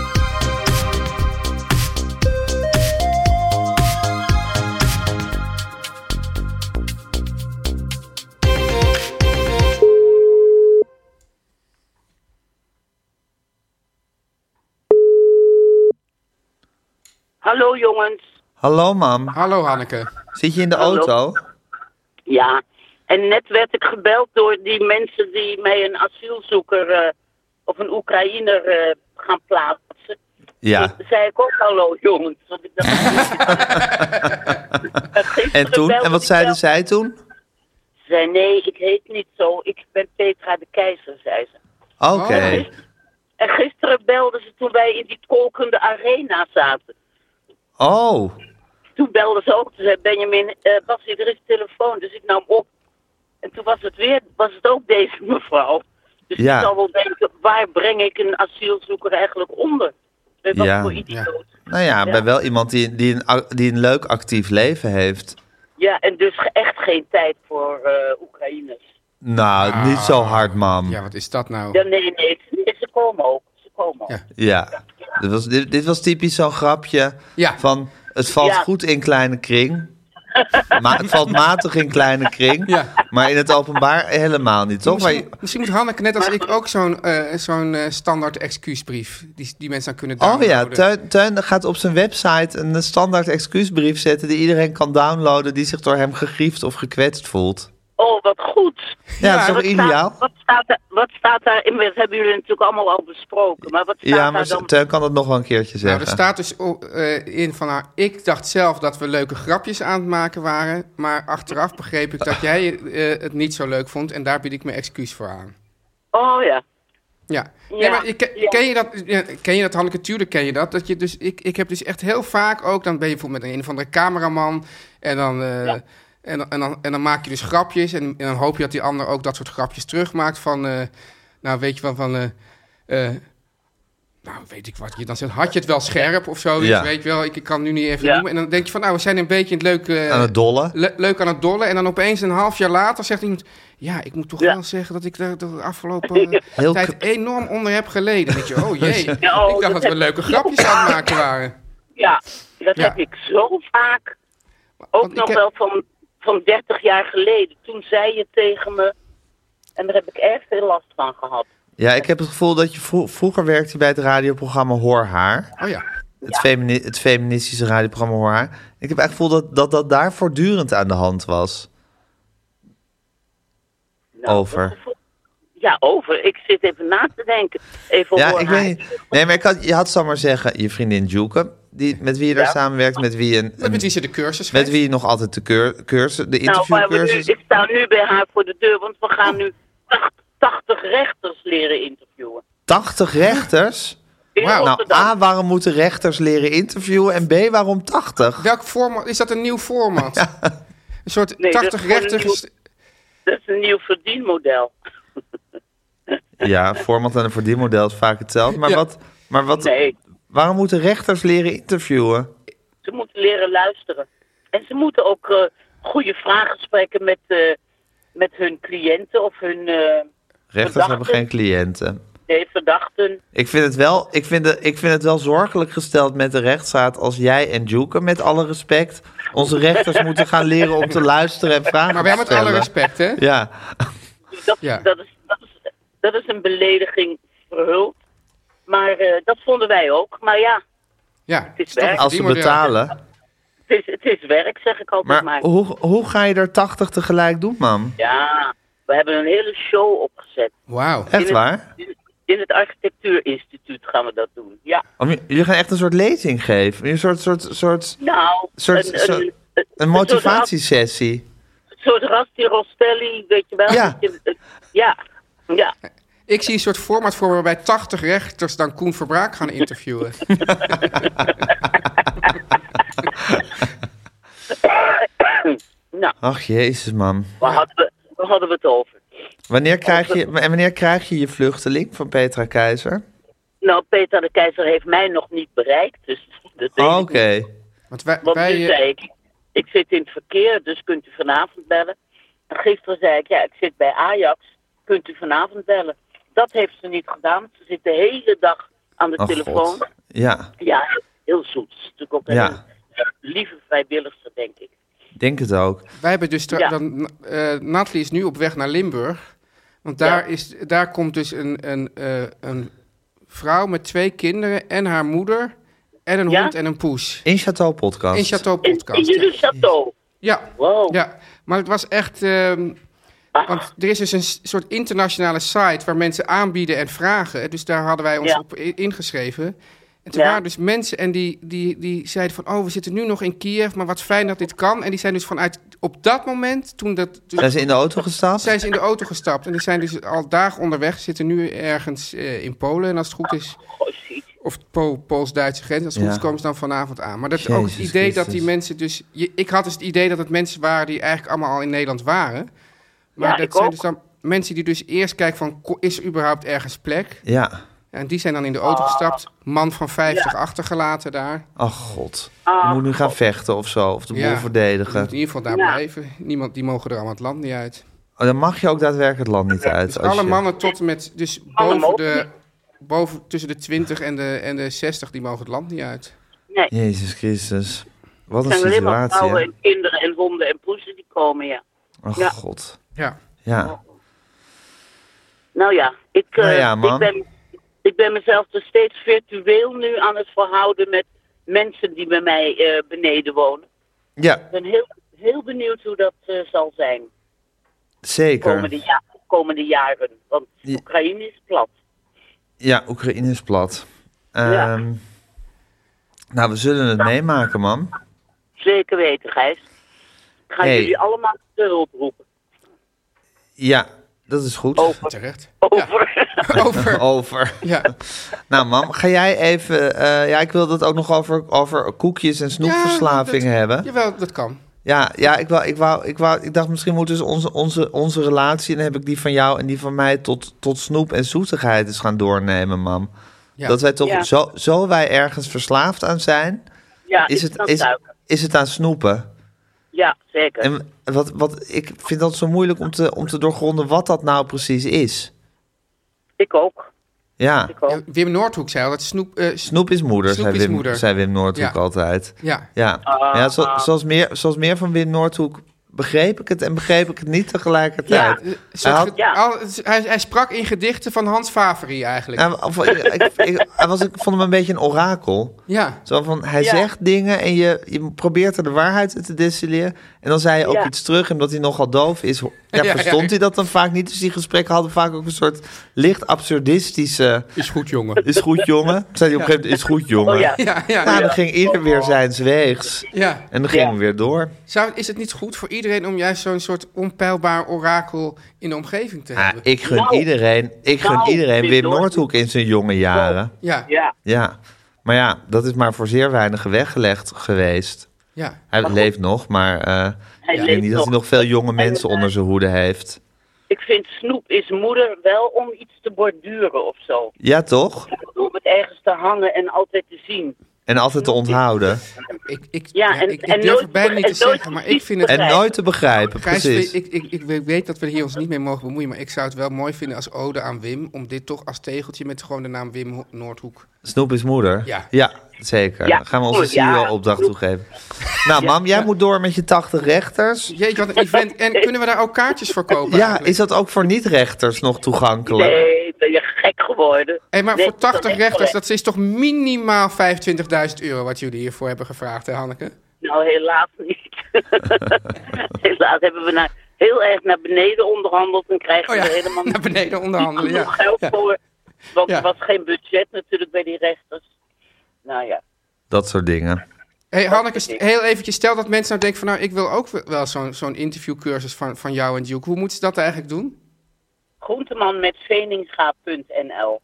S7: Hallo jongens.
S2: Hallo, mam.
S3: Hallo Hanneke.
S2: Zit je in de
S7: Hallo.
S2: auto?
S7: Ja. En net werd ik gebeld door die mensen die mij een asielzoeker eh, of een Oekraïner eh, gaan plaatsen.
S2: Ja.
S7: Toen zei ik ook hallo jongens. Want ik dacht, Gisteren
S2: En toen?
S7: belde
S2: En wat
S7: ik
S2: zeiden
S7: wel.
S2: zij toen?
S7: Ze zei nee, ik heet niet zo. Ik ben Petra de Keizer, zei ze.
S2: Oké.
S3: Oh.
S7: En gisteren belden ze toen wij in die kokende arena zaten.
S2: Oh.
S7: Toen belden ze ook. Toen zei Benjamin, eh Bassie, er is telefoon. Dus ik nam op. En toen was het weer, was het ook deze mevrouw. Dus
S2: Ja.
S7: ik zal wel denken, waar breng ik een asielzoeker eigenlijk onder? Bij Wat
S2: Ja.
S7: voor idioot. Ja.
S2: Nou ja, bij wel iemand die, die, een, a- die een leuk actief leven heeft.
S7: en dus ge- echt geen tijd voor eh, Oekraïners.
S2: Nou, niet zo hard, mam.
S3: Ah. Ja, wat is dat nou?
S7: Ja, nee, nee, nee, ze komen ook. Ze komen ook.
S3: Ja.
S2: Ja. Dit was, dit, dit was typisch zo'n grapje
S3: Ja.
S2: van het valt
S7: Ja.
S2: goed in kleine kring. Maar het valt matig in kleine kring.
S3: Ja.
S2: Maar in het openbaar helemaal niet, toch? Maar
S3: Misschien,
S2: je-
S3: misschien moet Hanneke net als ik ook zo'n eh, zo'n eh, standaard excuusbrief. Die, die mensen dan kunnen
S2: Oh ja,
S3: downloaden.
S2: Teun, Teun gaat op zijn website een standaard excuusbrief zetten... die iedereen kan downloaden die zich door hem gegriefd of gekwetst voelt.
S7: Oh, wat goed.
S2: Ja, dat is toch
S7: wat
S2: ideaal?
S7: Staat, wat, staat er, wat staat daar in? Dat hebben jullie natuurlijk allemaal al besproken. Maar wat staat
S2: Ja, maar
S7: daar dan?
S2: Teun kan dat nog wel een keertje
S3: Nou, er
S2: zeggen.
S3: staat dus o- eh, in van, nou, ik dacht zelf dat we leuke grapjes aan het maken waren, maar achteraf begreep ik dat jij eh, het niet zo leuk vond en daar bied ik mijn excuus voor aan.
S7: Oh ja.
S3: Ja. Nee,
S7: Ja,
S3: maar je, ken,
S7: ja.
S3: ken je dat, ja, ken je dat, Hanneke? Tuurlijk ken je dat. dat je dus, ik, ik heb dus echt heel vaak ook, dan ben je bijvoorbeeld met een of andere cameraman en dan, eh, en, dan- en, dan, en dan maak je dus grapjes en, en dan hoop je dat die ander ook dat soort grapjes terugmaakt van, eh, nou weet je wel, van... eh, eh, nou, weet ik wat je dan zegt. Had je het wel scherp of zo?
S2: Ja.
S3: Weet je wel, ik, ik kan het nu niet even
S7: Ja.
S3: noemen. En dan denk je van, nou, we zijn een beetje in het leuke... eh,
S2: Aan het dolle.
S3: Le- leuk aan het dollen. En dan opeens een half jaar later zegt iemand... Ja, ik moet toch
S7: Ja.
S3: wel zeggen dat ik daar de afgelopen eh,
S2: Heel
S3: tijd
S2: k-
S3: enorm onder heb geleden. Weet je, oh jee,
S7: Ja, oh,
S3: ik dacht
S7: dat
S3: dat we
S7: heb-
S3: leuke grapjes aan het maken waren.
S7: Ja, dat
S3: Ja.
S7: heb ik zo vaak. Ook
S3: ik
S7: nog
S3: heb-
S7: wel van, van 30 jaar geleden. Toen zei je tegen me. En daar heb ik erg veel last van gehad.
S2: Ja, ik heb het gevoel dat je vro- vroeger werkte bij het radioprogramma Hoor Haar.
S3: Oh ja,
S2: Het, femini- het feministische radioprogramma Hoor Haar. Ik heb echt het gevoel dat, dat dat daar voortdurend aan de hand was.
S7: Nou,
S2: Over.
S7: dat gevoel- Ja, over. Ik zit even na te denken. Even
S2: Ja,
S7: hoor
S2: ik
S7: haar.
S2: weet niet. Nee, maar ik had, je had, zal maar zeggen, je vriendin Joeke, die, met wie je daar samenwerkt, met wie, een,
S3: met wie ze de cursus
S2: met
S3: geeft.
S2: wie je nog altijd de keur, cursus, de
S7: Nou, waar we nu,
S2: interviewcursus.
S7: ik sta nu bij haar voor de deur, want we gaan nu 80 rechters leren interviewen.
S2: 80 rechters?
S7: In
S3: Wauw. Nou,
S2: Nou,
S7: Rotterdam.
S2: A, waarom moeten rechters leren interviewen? En B, waarom 80?
S3: Welk format? Is dat een nieuw format? Een soort
S7: Nee, dat is
S3: 80
S7: gewoon een
S3: rechter...
S7: nieuw- Dat is een nieuw verdienmodel.
S2: Ja, format en een verdienmodel is vaak hetzelfde. Maar,
S3: Ja.
S2: wat, maar wat,
S7: Nee,
S2: waarom moeten rechters leren interviewen?
S7: ze moeten leren luisteren. En ze moeten ook eh, goede vraaggesprekken met, eh, met hun cliënten of hun eh,
S2: Rechters
S7: Verdachten.
S2: hebben geen cliënten.
S7: nee, verdachten.
S2: Ik vind, het wel, ik, vind het, ik vind het wel zorgelijk gesteld met de rechtsstaat als jij en Joeken, met alle respect, onze rechters moeten gaan leren om te luisteren en vragen
S3: Maar wij
S2: te
S3: met alle
S2: stellen.
S3: respect, hè?
S2: Ja,
S7: Dus Dat,
S3: Ja.
S7: dat, is, dat, is, dat is een belediging verhuld. Maar eh, dat vonden wij ook. Maar ja,
S3: Ja,
S7: Het is
S3: toch een
S7: werk.
S2: als ze
S3: verdienmodel.
S2: betalen.
S7: het is, het is werk, zeg ik altijd maar.
S2: Maar hoe, hoe ga je er 80 tegelijk doen, man?
S7: Ja, we hebben een hele show opgezet.
S3: Wauw.
S2: Echt waar?
S7: In het architectuurinstituut gaan we dat doen. Ja,
S2: Om, je- jullie gaan echt een soort lezing geven. Een soort, soort, soort,
S7: nou,
S2: Soort-
S7: een,
S2: soort-
S7: een, een,
S2: een motivatiesessie.
S7: soort- soort Rasti Rostelli, weet je wel.
S2: Ja.
S7: Dat je- ja, ja.
S3: Ik zie een soort format voor me waarbij 80 rechters dan Koen Verbraak gaan interviewen.
S7: Nou,
S2: Ach jezus, man.
S7: waar hadden we, waar hadden we het over?
S2: Wanneer krijg je, en wanneer krijg je je vluchteling van Petra Keizer?
S7: Nou, Peter de Keizer heeft mij nog niet bereikt, dus dat weet
S2: Oh,
S7: ik
S2: Oké.
S7: niet.
S3: Want wij,
S7: Want
S3: wij,
S7: nu
S3: eh,
S7: zei ik, ik zit in het verkeer, dus kunt u vanavond bellen. En gisteren zei ik, ja, ik zit bij Ajax, kunt u vanavond bellen. Dat heeft ze niet gedaan. Ze zit de hele dag aan de
S2: Oh,
S7: telefoon.
S2: God. Ja,
S7: Ja, heel zoet. Ze is natuurlijk ook een
S2: Ja.
S7: heel lieve vrijwilligster, denk ik.
S2: denk het ook.
S3: Wij hebben dus stra-
S7: Ja.
S3: dan, eh Nathalie is nu op weg naar Limburg. Want daar,
S7: Ja.
S3: is, daar komt dus een, een, eh, een vrouw met twee kinderen en haar moeder en een
S7: Ja?
S3: hond en een poes.
S2: In Chateau Podcast.
S3: In Chateau
S7: In,
S3: Podcast.
S7: in jullie château.
S3: Ja,
S7: Wow.
S3: ja. maar het was echt... ehm,
S7: Ah.
S3: want er is dus een s- soort internationale site waar mensen aanbieden en vragen. Dus daar hadden wij ons
S7: Ja.
S3: op i- ingeschreven. En toen
S7: Ja.
S3: waren dus mensen en die, die, die zeiden van... oh, we zitten nu nog in Kiev, maar wat fijn dat dit kan. En die zijn dus vanuit op dat moment, toen dat... toen-
S2: Zijn ze in de auto gestapt?
S3: zijn ze in de auto gestapt. En die zijn dus al dagen onderweg. Zitten nu ergens eh, in Polen. En als het goed is,
S7: Goh, zie.
S3: of Po- Pools-Duitse grens. Als het
S2: Ja.
S3: goed is, komen ze dan vanavond aan. Maar dat is
S2: Jezus
S3: ook het idee dat die
S2: Christus.
S3: mensen dus... je- ik had dus het idee dat het mensen waren die eigenlijk allemaal al in Nederland waren. Maar
S7: Ja,
S3: dat
S7: ik
S3: zijn
S7: ook.
S3: dus dan mensen die dus eerst kijken van... ko- is er überhaupt ergens plek?
S2: Ja.
S3: En die zijn dan in de
S7: Ah.
S3: auto gestapt. Man van 50 achtergelaten daar.
S2: Ach god.
S7: Ah,
S2: Je moet nu gaan vechten of zo. Of de boel
S3: Ja. Die moet in
S2: verdedigen.
S3: ieder geval daar
S7: Ja.
S3: blijven. Niemand, die mogen er allemaal het land niet uit.
S2: Oh, dan mag je ook daadwerkelijk het land niet uit.
S3: Dus
S2: als
S3: alle
S2: je-
S3: mannen tot en met dus
S7: Alle
S3: boven
S7: mogen
S3: de,
S7: niet.
S3: boven, tussen de 20 en de, en de 60, die mogen het land niet uit.
S7: Nee, het
S2: Jezus Christus. Wat een
S7: zijn alleen maar
S2: situatie.
S7: vrouwen
S2: hè?
S7: en kinderen en honden en poezen die komen, ja.
S2: Ach
S7: Ja.
S2: god.
S3: Ja.
S2: Ja.
S7: Nou ja, ik, eh,
S2: Nou ja, man.
S7: ik, ben, ik ben mezelf dus steeds virtueel nu aan het verhouden met mensen die bij mij eh, beneden wonen.
S2: Ja,
S7: Ik ben heel, heel benieuwd hoe dat eh, zal zijn komende,
S2: zeker.
S7: ja, komende jaren. Want
S2: Ja.
S7: Oekraïne is plat.
S2: Ja, Oekraïne is plat.
S7: Ja.
S2: Ehm, Nou, we zullen het meemaken, man.
S7: Zeker weten, Gijs. Ik ga
S2: Hey.
S7: jullie allemaal de hulp roepen.
S2: Ja, dat is goed.
S7: Over.
S3: Terecht.
S7: Over.
S3: Over.
S2: Over.
S3: Ja.
S2: Nou, mam, ga jij even. eh, ja, ik wil dat ook nog over, over koekjes en snoepverslaving
S3: Ja, dat-
S2: hebben.
S3: Jawel, dat kan.
S2: Ja, ja ik, wou, ik, wou, ik, wou, ik dacht misschien moeten ze onze, onze, onze relatie, en dan heb ik die van jou en die van mij, tot, tot snoep en zoetigheid eens gaan doornemen, mam.
S3: Ja.
S2: Dat wij toch,
S7: Ja.
S2: zo, zo wij ergens verslaafd aan zijn,
S7: Ja,
S2: is
S7: ik
S2: het,
S7: snap
S2: is,
S7: duiken.
S2: is het aan snoepen.
S7: Ja, zeker.
S2: En wat, wat, ik vind dat zo moeilijk om te, om te doorgronden wat dat nou precies is.
S7: Ik ook.
S2: Ja,
S7: Ik ook.
S3: Ja, Wim Noordhoek zei al dat snoep... eh, s-
S2: snoep is moeder,
S3: Snoep
S2: zei,
S3: is
S2: Wim,
S3: moeder.
S2: zei Wim Noordhoek
S3: Ja.
S2: altijd.
S3: ja.
S2: Ja,
S7: Ah.
S2: ja zo- zoals, meer, zoals meer van Wim Noordhoek begreep ik het en begreep ik het niet tegelijkertijd.
S3: Ja, Eh, een soort
S2: Hij had-
S3: ge- al- hij, hij sprak in gedichten van Hans Favori eigenlijk.
S2: Ja, of, ik, ik, ik- hij was, ik vond hem een beetje een orakel.
S3: Ja.
S2: Zo van, hij
S7: Ja.
S2: zegt dingen en je, je probeert er de waarheid uit te distilleren. En dan zei je ook
S7: Ja.
S2: iets terug, en omdat hij nogal doof is, ho- ja,
S3: Ja,
S2: verstond
S3: ja.
S2: hij dat dan vaak niet. Dus die gesprekken hadden vaak ook een soort licht absurdistische...
S3: Is goed, jongen.
S2: Is goed, jongen? Zei hij op een gegeven moment, is goed, jongen?
S7: Oh, ja.
S3: Ja, ja.
S2: Nou, dan
S3: ja.
S2: ging ieder weer zijn weegs. En dan gingen
S7: Ja.
S2: we weer door.
S3: Zou, is het niet goed voor iedereen om juist zo'n soort onpeilbaar orakel in de omgeving te
S2: Ah,
S3: hebben?
S2: ik gun
S7: Nou.
S2: iedereen, ik gun
S7: Nou,
S2: iedereen
S7: Wim
S2: Wim
S7: Noordhoek.
S2: Noordhoek in zijn jonge jaren.
S3: Ja,
S7: Ja,
S2: Ja, maar ja, dat is maar voor zeer weinigen weggelegd geweest.
S3: ja.
S2: Hij leeft nog, maar eh,
S7: hij
S2: ik denk
S7: leeft
S2: niet dat
S7: nog.
S2: hij nog veel jonge mensen
S7: eh,
S2: onder zijn hoede heeft.
S7: Ik vind snoep is moeder wel om iets te borduren of zo.
S2: Ja, toch?
S7: Om het ergens te hangen en altijd te zien.
S2: En altijd te onthouden.
S3: Ik, ik,
S7: Ja,
S3: ja,
S7: en-
S3: ik, ik
S7: en
S3: durf
S7: nooit-
S3: het bijna niet te
S7: en nooit
S3: zeggen, maar ik vind het...
S2: En nooit te begrijpen,
S3: Gijs,
S2: precies.
S3: ik, ik, ik, ik weet dat we hier ons niet mee mogen bemoeien, maar ik zou het wel mooi vinden als ode aan Wim, om dit toch als tegeltje met gewoon de naam Wim Ho- Noordhoek.
S2: Snoep is moeder.
S3: Ja.
S2: zeker.
S7: Ja,
S2: Dan gaan we onze
S7: goed, ja.
S2: CEO-opdracht toegeven. Nou, mam, jij moet door met je 80 rechters.
S3: Jeetje, wat een event. En kunnen we daar ook kaartjes voor kopen
S2: Ja,
S3: eigenlijk?
S2: is dat ook voor niet-rechters nog toegankelijk?
S7: Nee, ben je gek geworden.
S3: Hey, maar
S7: Nee,
S3: voor 80
S7: echt
S3: rechters,
S7: correct.
S3: dat is toch minimaal 25.000 euro wat jullie hiervoor hebben gevraagd, hè Hanneke?
S7: Nou, helaas niet. helaas hebben we naar, heel erg naar beneden onderhandeld en krijgen
S3: Oh ja,
S7: we helemaal
S3: naar beneden onderhandelen,
S7: niet
S3: ja.
S7: genoeg geld
S3: Ja.
S7: voor. Want
S3: Ja.
S7: er was geen budget natuurlijk bij die rechters. Nou ja,
S2: Dat soort dingen.
S3: Hey Hanneke, st- heel eventjes, stel dat mensen nou denken van nou, ik wil ook wel zo'n zo'n interviewcursus van, van jou en Duke. Hoe moeten ze dat eigenlijk doen?
S7: groenteman met veninga.nl.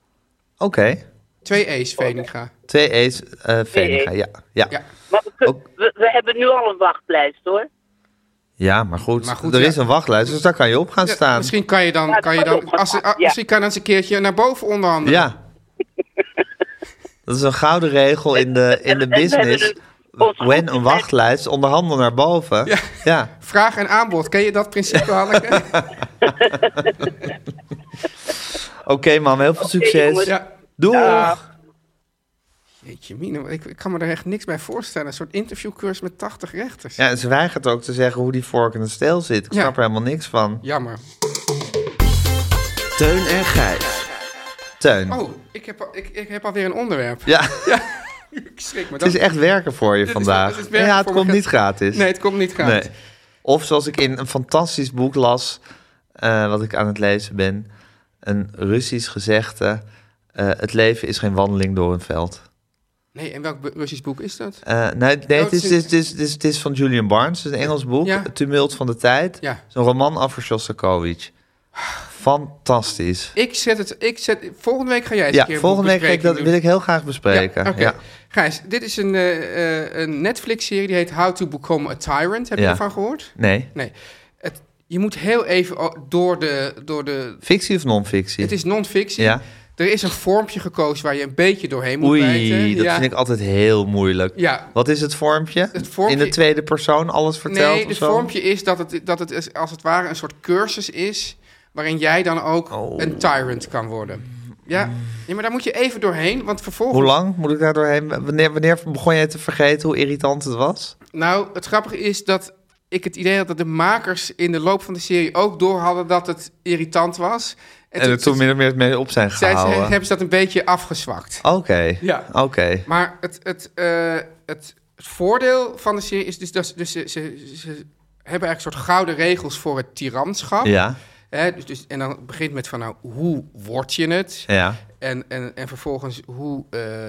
S2: Oké.
S3: Twee E's, Veninga.
S2: Twee E's, eh Veninga. Ja. Ja.
S3: Ja.
S7: Maar we, kun-
S2: Ook-
S7: we, we hebben nu al een wachtlijst hoor.
S2: ja, maar goed.
S3: Maar goed,
S2: er
S3: ja.
S2: is een wachtlijst, dus daar kan je op gaan
S3: Ja,
S2: staan.
S3: Misschien kan je dan, kan je dan, als, ah, misschien kan je dan eens een keertje naar boven onderhandelen.
S2: Ja. Dat is een gouden regel in de, in de
S7: En we
S2: business.
S7: hebben een- ons
S2: When een
S7: goed-
S2: wachtlijst, onderhandel naar boven. Ja.
S3: Vraag en aanbod, ken je dat principe Hanneke?
S2: Oké, mam, heel veel
S7: jongens.
S2: succes.
S3: ja.
S2: Doeg.
S3: Jeetje mine, ik, ik kan me er echt niks bij voorstellen. Een soort interviewcursus met 80 rechters.
S2: Ja, en ze weigert ook te zeggen hoe die vork in de steel zit. Ik
S3: Ja.
S2: snap er helemaal niks van.
S3: Jammer.
S4: Teun en Gijs.
S2: Teun.
S3: Oh, ik heb, al- ik, ik heb alweer een onderwerp.
S2: Ja,
S3: Ik schrik me.
S2: het is echt werken voor je
S3: Dit is-
S2: vandaag.
S3: dit is werken
S2: ja, het
S3: voor
S2: komt
S3: me.
S2: niet gratis.
S3: Nee, het komt niet gratis.
S2: Nee. Of zoals ik in een fantastisch boek las, eh, wat ik aan het lezen ben, een Russisch gezegde: eh, Het leven is geen wandeling door een veld.
S3: Nee, en welk bu- Russisch boek is dat?
S2: Eh, nee, nee,
S3: Oh,
S2: het, is,
S3: het
S2: het,
S3: is-
S2: is, het is- het is van Julian Barnes, het is een Engels boek,
S3: Ja.
S2: Het Tumult van de Tijd.
S3: Ja.
S2: Het is een roman af van Shostakovich. Fantastisch.
S3: Ik zet het. Ik zet, volgende week ga jij eens
S2: Ja,
S3: een keer een
S2: volgende week ga ik
S3: boekbespreking
S2: dat,
S3: doen.
S2: wil ik heel graag bespreken.
S3: Ja,
S2: Ja,
S3: oké. Gijs, dit is een, eh, eh, een Netflix-serie die heet How to Become a Tyrant. Heb je
S2: Ja.
S3: ervan gehoord?
S2: Nee.
S3: Nee. Het, je moet heel even o- door de... Door de
S2: Fictie of non-fictie?
S3: het is non-fictie.
S2: Ja.
S3: Er is een vormpje gekozen waar je een beetje doorheen moet
S2: Oei,
S3: bijten.
S2: dat
S3: ja.
S2: vind ik altijd heel moeilijk.
S3: Ja.
S2: Wat is het vormpje?
S3: Het vormpje-
S2: In de tweede persoon alles verteld
S3: Nee,
S2: of
S3: het
S2: zo?
S3: vormpje is dat het, dat het is- als het ware een soort cursus is... waarin jij dan ook
S2: Oh.
S3: een tyrant kan worden. Ja. ja, maar daar moet je even doorheen, want vervolgens...
S2: Hoe lang moet ik daar doorheen? Wanneer, wanneer begon jij te vergeten hoe irritant het was?
S3: Nou, het grappige is dat ik het idee had dat de makers in de loop van de serie ook door hadden dat het irritant was.
S2: En, er toen min of meer mee op zijn
S3: zijn ze,
S2: gehouden.
S3: hebben ze dat een beetje afgezwakt.
S2: Oké,
S3: Ja.
S2: oké.
S3: Maar het, het, eh, het, het voordeel van de serie is dus dat ze, dus ze, ze, ze hebben eigenlijk een soort gouden regels voor het tiranschap.
S2: Ja,
S3: Hè, dus, dus, en dan het begint met van nou, hoe word je het?
S2: ja.
S3: En, en, en vervolgens, hoe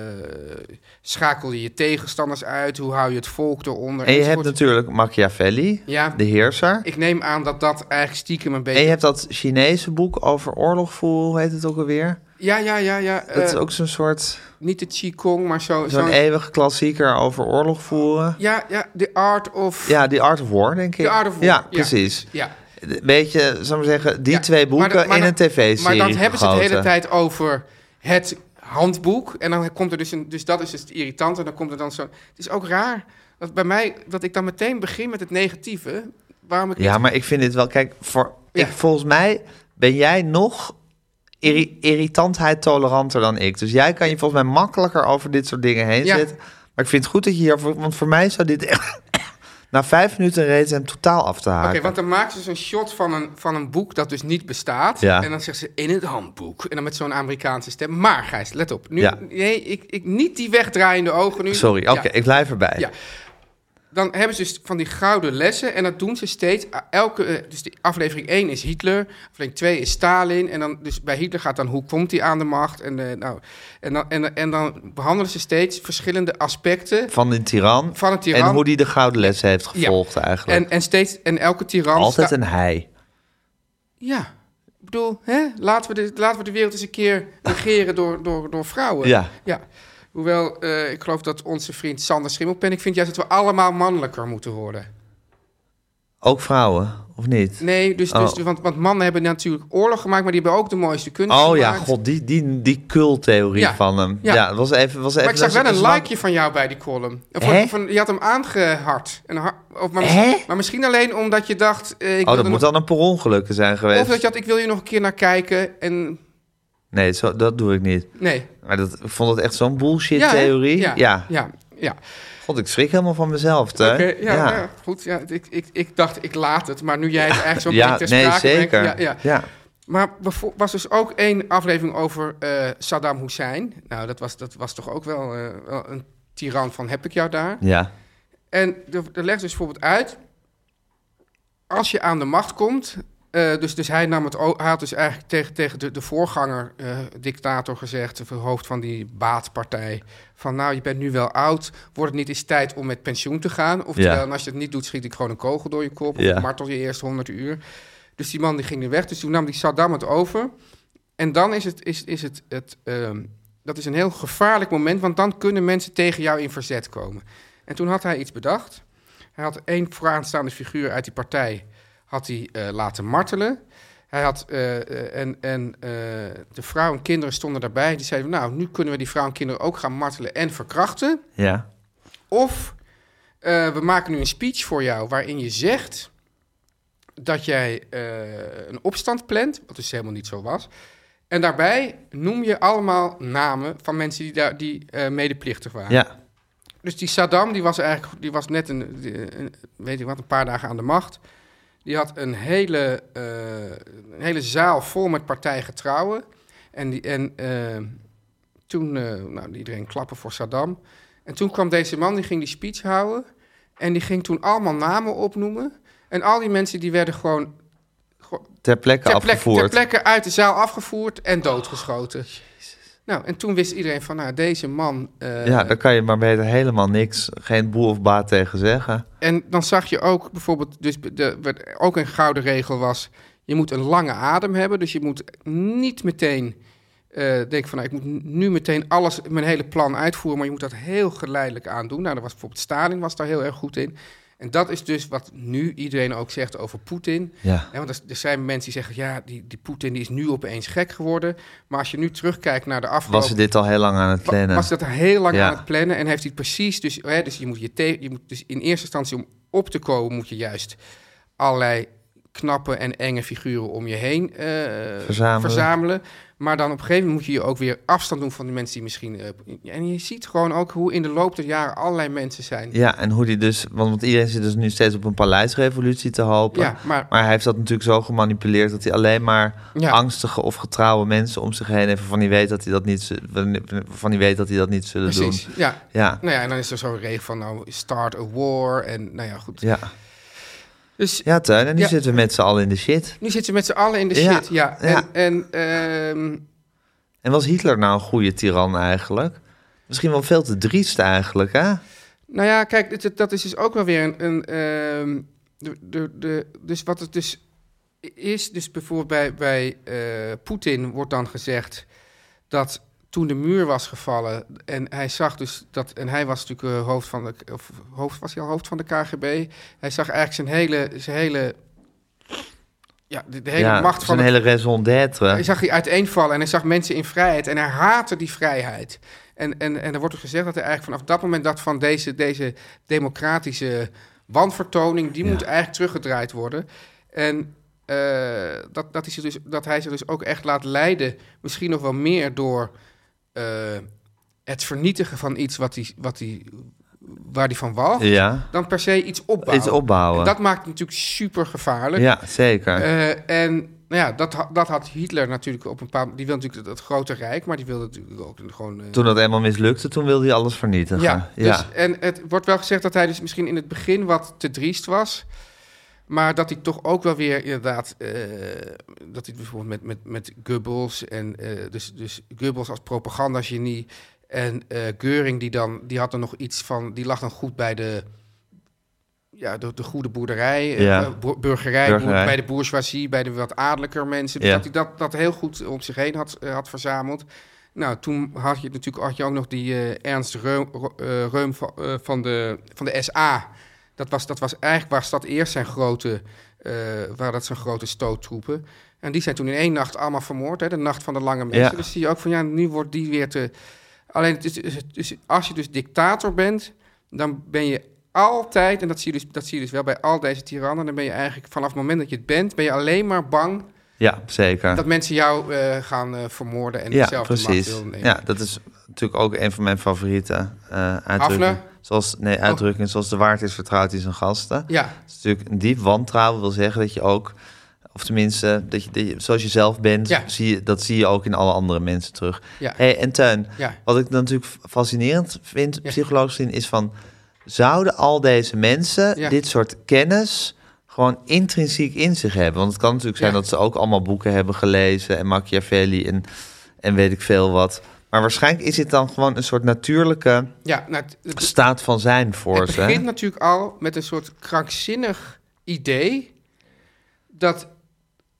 S3: eh, schakel je je tegenstanders uit? Hoe hou je het volk eronder?
S2: En je hebt
S3: enzovoort.
S2: natuurlijk Machiavelli,
S3: Ja.
S2: de heerser.
S3: Ik neem aan dat dat eigenlijk stiekem een
S2: En
S3: beetje...
S2: je hebt dat Chinese boek over oorlog voeren, hoe heet het ook alweer?
S3: Ja, ja, ja, ja.
S2: dat is
S3: eh,
S2: ook zo'n soort,
S3: Niet de Qigong, maar zo...
S2: zo'n e-
S3: zo'n-
S2: eeuwige klassieker over oorlog voeren.
S3: ja, ja, The Art of...
S2: Ja, die Art of War, denk ik.
S3: The Art of War.
S2: Ja, precies.
S3: Ja.
S2: Een beetje, zal ik maar zeggen, die
S3: ja.
S2: twee boeken
S3: Maar da- maar
S2: in
S3: dan-
S2: een tv-serie
S3: Maar dan hebben ze het de hele
S2: gegoten.
S3: tijd over het handboek. En dan komt er dus een... Dus dat is dus het irritante. En dan komt er dan zo... Het is ook raar dat bij mij... Dat ik dan meteen begin met het negatieve. Waarom ik...
S2: Ja, maar ik vind dit wel... Kijk, voor,
S3: Ja.
S2: ik, volgens mij ben jij nog irri- irritantheid toleranter dan ik. Dus jij kan je volgens mij makkelijker over dit soort dingen heen
S3: Ja.
S2: zetten. Maar ik vind het goed dat je hier... voor- Want voor mij zou dit echt... na vijf minuten reeds hem totaal af te haken.
S3: Oké, want dan maken ze dus een shot van een, van een boek dat dus niet bestaat.
S2: Ja.
S3: En dan zeggen ze in het handboek. En dan met zo'n Amerikaanse stem. Maar Gijs, let op. Nu,
S2: Ja.
S3: Nee, ik, ik, niet die wegdraaiende ogen nu.
S2: Sorry, oké,
S3: Ja.
S2: ik blijf erbij.
S3: Ja. Dan hebben ze dus van die gouden lessen en dat doen ze steeds. a- Elke, eh, dus die aflevering 1 is Hitler, aflevering 2 is Stalin. En dan, dus bij Hitler gaat dan hoe komt hij aan de macht? En, eh, nou, en, dan, en, en dan behandelen ze steeds verschillende aspecten.
S2: Van een tiran.
S3: Van een tiran.
S2: En hoe die de gouden les heeft gevolgd eigenlijk.
S3: En, en, steeds, en elke tiran...
S2: Altijd
S3: sta-
S2: een hij.
S3: Ja, ik bedoel, hè? Laten, we de, laten we de wereld eens een keer regeren door, door, door vrouwen.
S2: Ja.
S3: ja. Hoewel, eh, ik geloof dat onze vriend Sander Schimmelpen... ik vind juist dat we allemaal mannelijker moeten worden.
S2: Ook vrouwen, of niet?
S3: Nee, dus, dus,
S2: Oh.
S3: want, want mannen hebben natuurlijk oorlog gemaakt, maar die hebben ook de mooiste kunst
S2: Oh
S3: gemaakt.
S2: ja, god, die, die, die cultheorie
S3: Ja.
S2: van hem.
S3: Ja.
S2: Ja, dat was even... Was even
S3: Maar ik zag
S2: dat
S3: wel
S2: is-
S3: een
S2: dat is
S3: likeje van jou bij die column. Of
S2: Hè?
S3: van, van- je had hem aangehard. En har- of, maar,
S2: Hè?
S3: misschien- maar misschien alleen omdat je dacht... eh, ik
S2: Oh,
S3: wil
S2: dat
S3: er
S2: moet
S3: nog-
S2: dan een per ongeluk zijn geweest.
S3: Of dat je had, ik wil je nog een keer naar kijken. En
S2: Nee, zo, dat doe ik niet.
S3: nee.
S2: Maar dat, ik vond het echt zo'n
S3: Ja, hè?
S2: bullshit-theorie.
S3: Ja,
S2: Ja,
S3: ja. ja, ja.
S2: God, ik schrik helemaal van mezelf, Teun.
S3: Oké, ja,
S2: ja.
S3: ja, goed. Ja, ik, ik, ik dacht, ik laat het. Maar nu jij het eigenlijk zo
S2: Ja,
S3: meteen ter
S2: nee,
S3: sprake brengt,
S2: zeker.
S3: ja, ja. Maar bevo- was dus ook één aflevering over eh, Saddam Hussein. Nou, dat was, dat was toch ook wel, eh, wel een tiran van heb ik jou daar.
S2: Ja.
S3: En er er legt dus bijvoorbeeld uit... als je aan de macht komt... eh, dus, dus hij, nam het, o- hij had dus eigenlijk tegen, tegen de, de voorganger, eh, dictator, gezegd... of het hoofd van die baatpartij... van nou, je bent nu wel oud... wordt het niet eens tijd om met pensioen te gaan? Oftewel,
S2: Ja.
S3: en als je het niet doet, schiet ik gewoon een kogel door je kop... of
S2: Ja.
S3: ik martel je eerst 100 uur. Dus die man die ging er weg. Dus toen nam die Saddam het over. En dan is het... Is, is het, het ehm, dat is een heel gevaarlijk moment... want dan kunnen mensen tegen jou in verzet komen. En toen had hij iets bedacht. Hij had één vooraanstaande figuur uit die partij had hij, eh, laten martelen. Hij had, eh, eh, en en eh, de vrouw en kinderen stonden daarbij. Die zeiden, nou, nu kunnen we die vrouw en kinderen ook gaan martelen en verkrachten.
S2: Ja.
S3: Of eh, we maken nu een speech voor jou waarin je zegt dat jij eh, een opstand plant, wat dus helemaal niet zo was. En daarbij noem je allemaal namen van mensen die, daar, die eh, medeplichtig waren.
S2: Ja.
S3: Dus die Saddam, die was eigenlijk, die was net een, die- een- weet ik wat, een paar dagen aan de macht. Die had een hele, eh, een hele zaal vol met partijgetrouwen. En, die, en eh, toen, eh, nou, iedereen klappen voor Saddam. En toen kwam deze man, die ging die speech houden. En die ging toen allemaal namen opnoemen. En En al die mensen die werden gewoon gewoon
S2: Ter plekke
S3: ter plekke,
S2: afgevoerd.
S3: ter plekke uit de zaal afgevoerd en doodgeschoten. Nou, en toen wist iedereen van, nou, deze man... eh,
S2: ja, daar kan je maar beter helemaal niks, geen boel of baat tegen zeggen.
S3: En dan zag je ook bijvoorbeeld, dus de, wat ook een gouden regel was, je moet een lange adem hebben. Dus je moet niet meteen eh denken van, nou, ik moet nu meteen alles, mijn hele plan uitvoeren. Maar je moet dat heel geleidelijk aan doen. Nou, daar was bijvoorbeeld Stalin was daar heel erg goed in. En dat is dus wat nu iedereen ook zegt over Poetin.
S2: Ja.
S3: Hè, want er, er zijn mensen die zeggen, ja, die, die Poetin die is nu opeens gek geworden. Maar als je nu terugkijkt naar de afgelopen...
S2: Was ze dit al heel lang aan het
S3: Wa-
S2: plannen?
S3: Was dat heel lang
S2: Ja.
S3: aan het plannen en heeft hij het precies. Dus, hè, dus, je moet je te- je moet, dus in eerste instantie om op te komen, moet je juist allerlei knappe en enge figuren om je heen eh,
S2: Verzamelen.
S3: verzamelen. Maar dan op een gegeven moment moet je je ook weer afstand doen van de mensen die misschien. eh, en je ziet gewoon ook hoe in de loop der jaren allerlei mensen zijn.
S2: Ja, en hoe die dus, want, want iedereen zit dus nu steeds op een paleisrevolutie te hopen.
S3: Ja, maar-
S2: hij heeft dat natuurlijk zo gemanipuleerd dat hij alleen maar
S3: Ja.
S2: angstige of getrouwe mensen om zich heen heeft. Van die weet dat hij dat niet, zu- van die weet dat hij dat niet zullen
S3: Precies.
S2: doen.
S3: Ja.
S2: Ja,
S3: Nou ja, en dan is er zo'n regel van nou, start a war. En nou ja, goed.
S2: ja.
S3: Dus
S2: ja Teun, en nu
S3: Ja.
S2: zitten we met z'n allen in de shit.
S3: nu zitten ze met z'n allen in de
S2: Ja,
S3: shit. Ja.
S2: ja.
S3: En, en ehm,
S2: En was Hitler nou een goede tiran eigenlijk? Misschien wel veel te driest eigenlijk, hè?
S3: Nou ja, kijk, dit- dit- dat is dus ook wel weer een. een ehm, de, de, de, dus wat het dus is, dus bijvoorbeeld bij, bij eh, Poetin wordt dan gezegd dat toen de muur was gevallen en hij zag dus dat en hij was natuurlijk eh, hoofd van de of hoofd was hij al hoofd van de KGB. Hij zag eigenlijk zijn hele zijn hele ja de, de hele
S2: ja,
S3: macht van
S2: zijn
S3: het
S2: hele raison d'être.
S3: hij zag die uiteenvallen en hij zag mensen in vrijheid en hij haatte die vrijheid. En, en, en er wordt dus gezegd dat hij eigenlijk vanaf dat moment dat van deze, deze democratische wanvertoning, die moet eigenlijk teruggedraaid worden. En eh, dat, dat, is dus, dat hij zich dus ook echt laat leiden, misschien nog wel meer door eh, het vernietigen van iets wat die, wat die, waar hij van walgt,
S2: Ja,
S3: dan per se iets opbouwen.
S2: Iets opbouwen.
S3: En dat maakt het natuurlijk super gevaarlijk.
S2: ja zeker.
S3: Eh, en nou ja, dat, ha- dat had Hitler natuurlijk op een paar. Die wilde natuurlijk dat, dat grote rijk, maar die wilde natuurlijk ook gewoon. eh,
S2: toen dat eenmaal mislukte, toen wilde hij alles vernietigen.
S3: ja,
S2: ja.
S3: Dus, en het wordt wel gezegd dat hij dus misschien in het begin wat te driest was. Maar dat hij toch ook wel weer inderdaad. eh, dat hij bijvoorbeeld met, met, met Goebbels. En, eh, dus, dus Goebbels als propagandagenie. En eh Geuring, die, dan, die had er nog iets van. Die lag dan goed bij de. Ja, de, de goede boerderij, eh,
S2: Ja.
S3: eh, boer- burgerij,
S2: Burgerij.
S3: boer- bij de bourgeoisie, bij de wat adellijker mensen. Dus
S2: Ja.
S3: dat hij dat, dat heel goed om zich heen had, eh, had verzameld. Nou, toen had je natuurlijk had je ook nog die eh, Ernst Reum, Ro- eh, Reum van, eh, van, de, van de SA. Dat was, dat was eigenlijk was dat eerst zijn grote, eh waren dat zijn grote stoottroepen. En die zijn toen in één nacht allemaal vermoord, hè, de nacht van de lange mensen.
S2: Ja.
S3: Dus zie je ook van ja, nu wordt die weer te. Alleen het is, het is- het is- als je dus dictator bent, dan ben je altijd, en dat zie je dus, dat zie je dus wel bij al deze tirannen, dan ben je eigenlijk vanaf het moment dat je het bent, ben je alleen maar bang
S2: ja, zeker.
S3: dat mensen jou eh, gaan eh, vermoorden en
S2: Ja,
S3: zelf de macht
S2: precies.
S3: willen nemen.
S2: Ja, dat is natuurlijk ook een van mijn favoriete eh uitdrukkingen.
S3: Hafner?
S2: Zoals, nee, uitdrukkingen zoals de waard is vertrouwd in zijn gasten.
S3: Oh. Ja,
S2: Het is Dus natuurlijk een diep wantrouwen wil zeggen dat je ook, of tenminste, dat je, dat je- zoals je zelf bent,
S3: Ja.
S2: zie je, dat zie je ook in alle andere mensen terug.
S3: Ja.
S2: Hey, en Teun,
S3: Ja.
S2: wat ik dan natuurlijk fascinerend vind,
S3: Ja.
S2: psychologisch gezien, is van, zouden al deze mensen
S3: Ja.
S2: dit soort kennis gewoon intrinsiek in zich hebben? Want het kan natuurlijk zijn
S3: Ja.
S2: dat ze ook allemaal boeken hebben gelezen en Machiavelli en, en weet ik veel wat. Maar waarschijnlijk is dit dan gewoon een soort natuurlijke
S3: ja nou, het, het-
S2: staat van zijn voor
S3: het
S2: ze.
S3: begint
S2: hè?
S3: natuurlijk al met een soort krankzinnig idee dat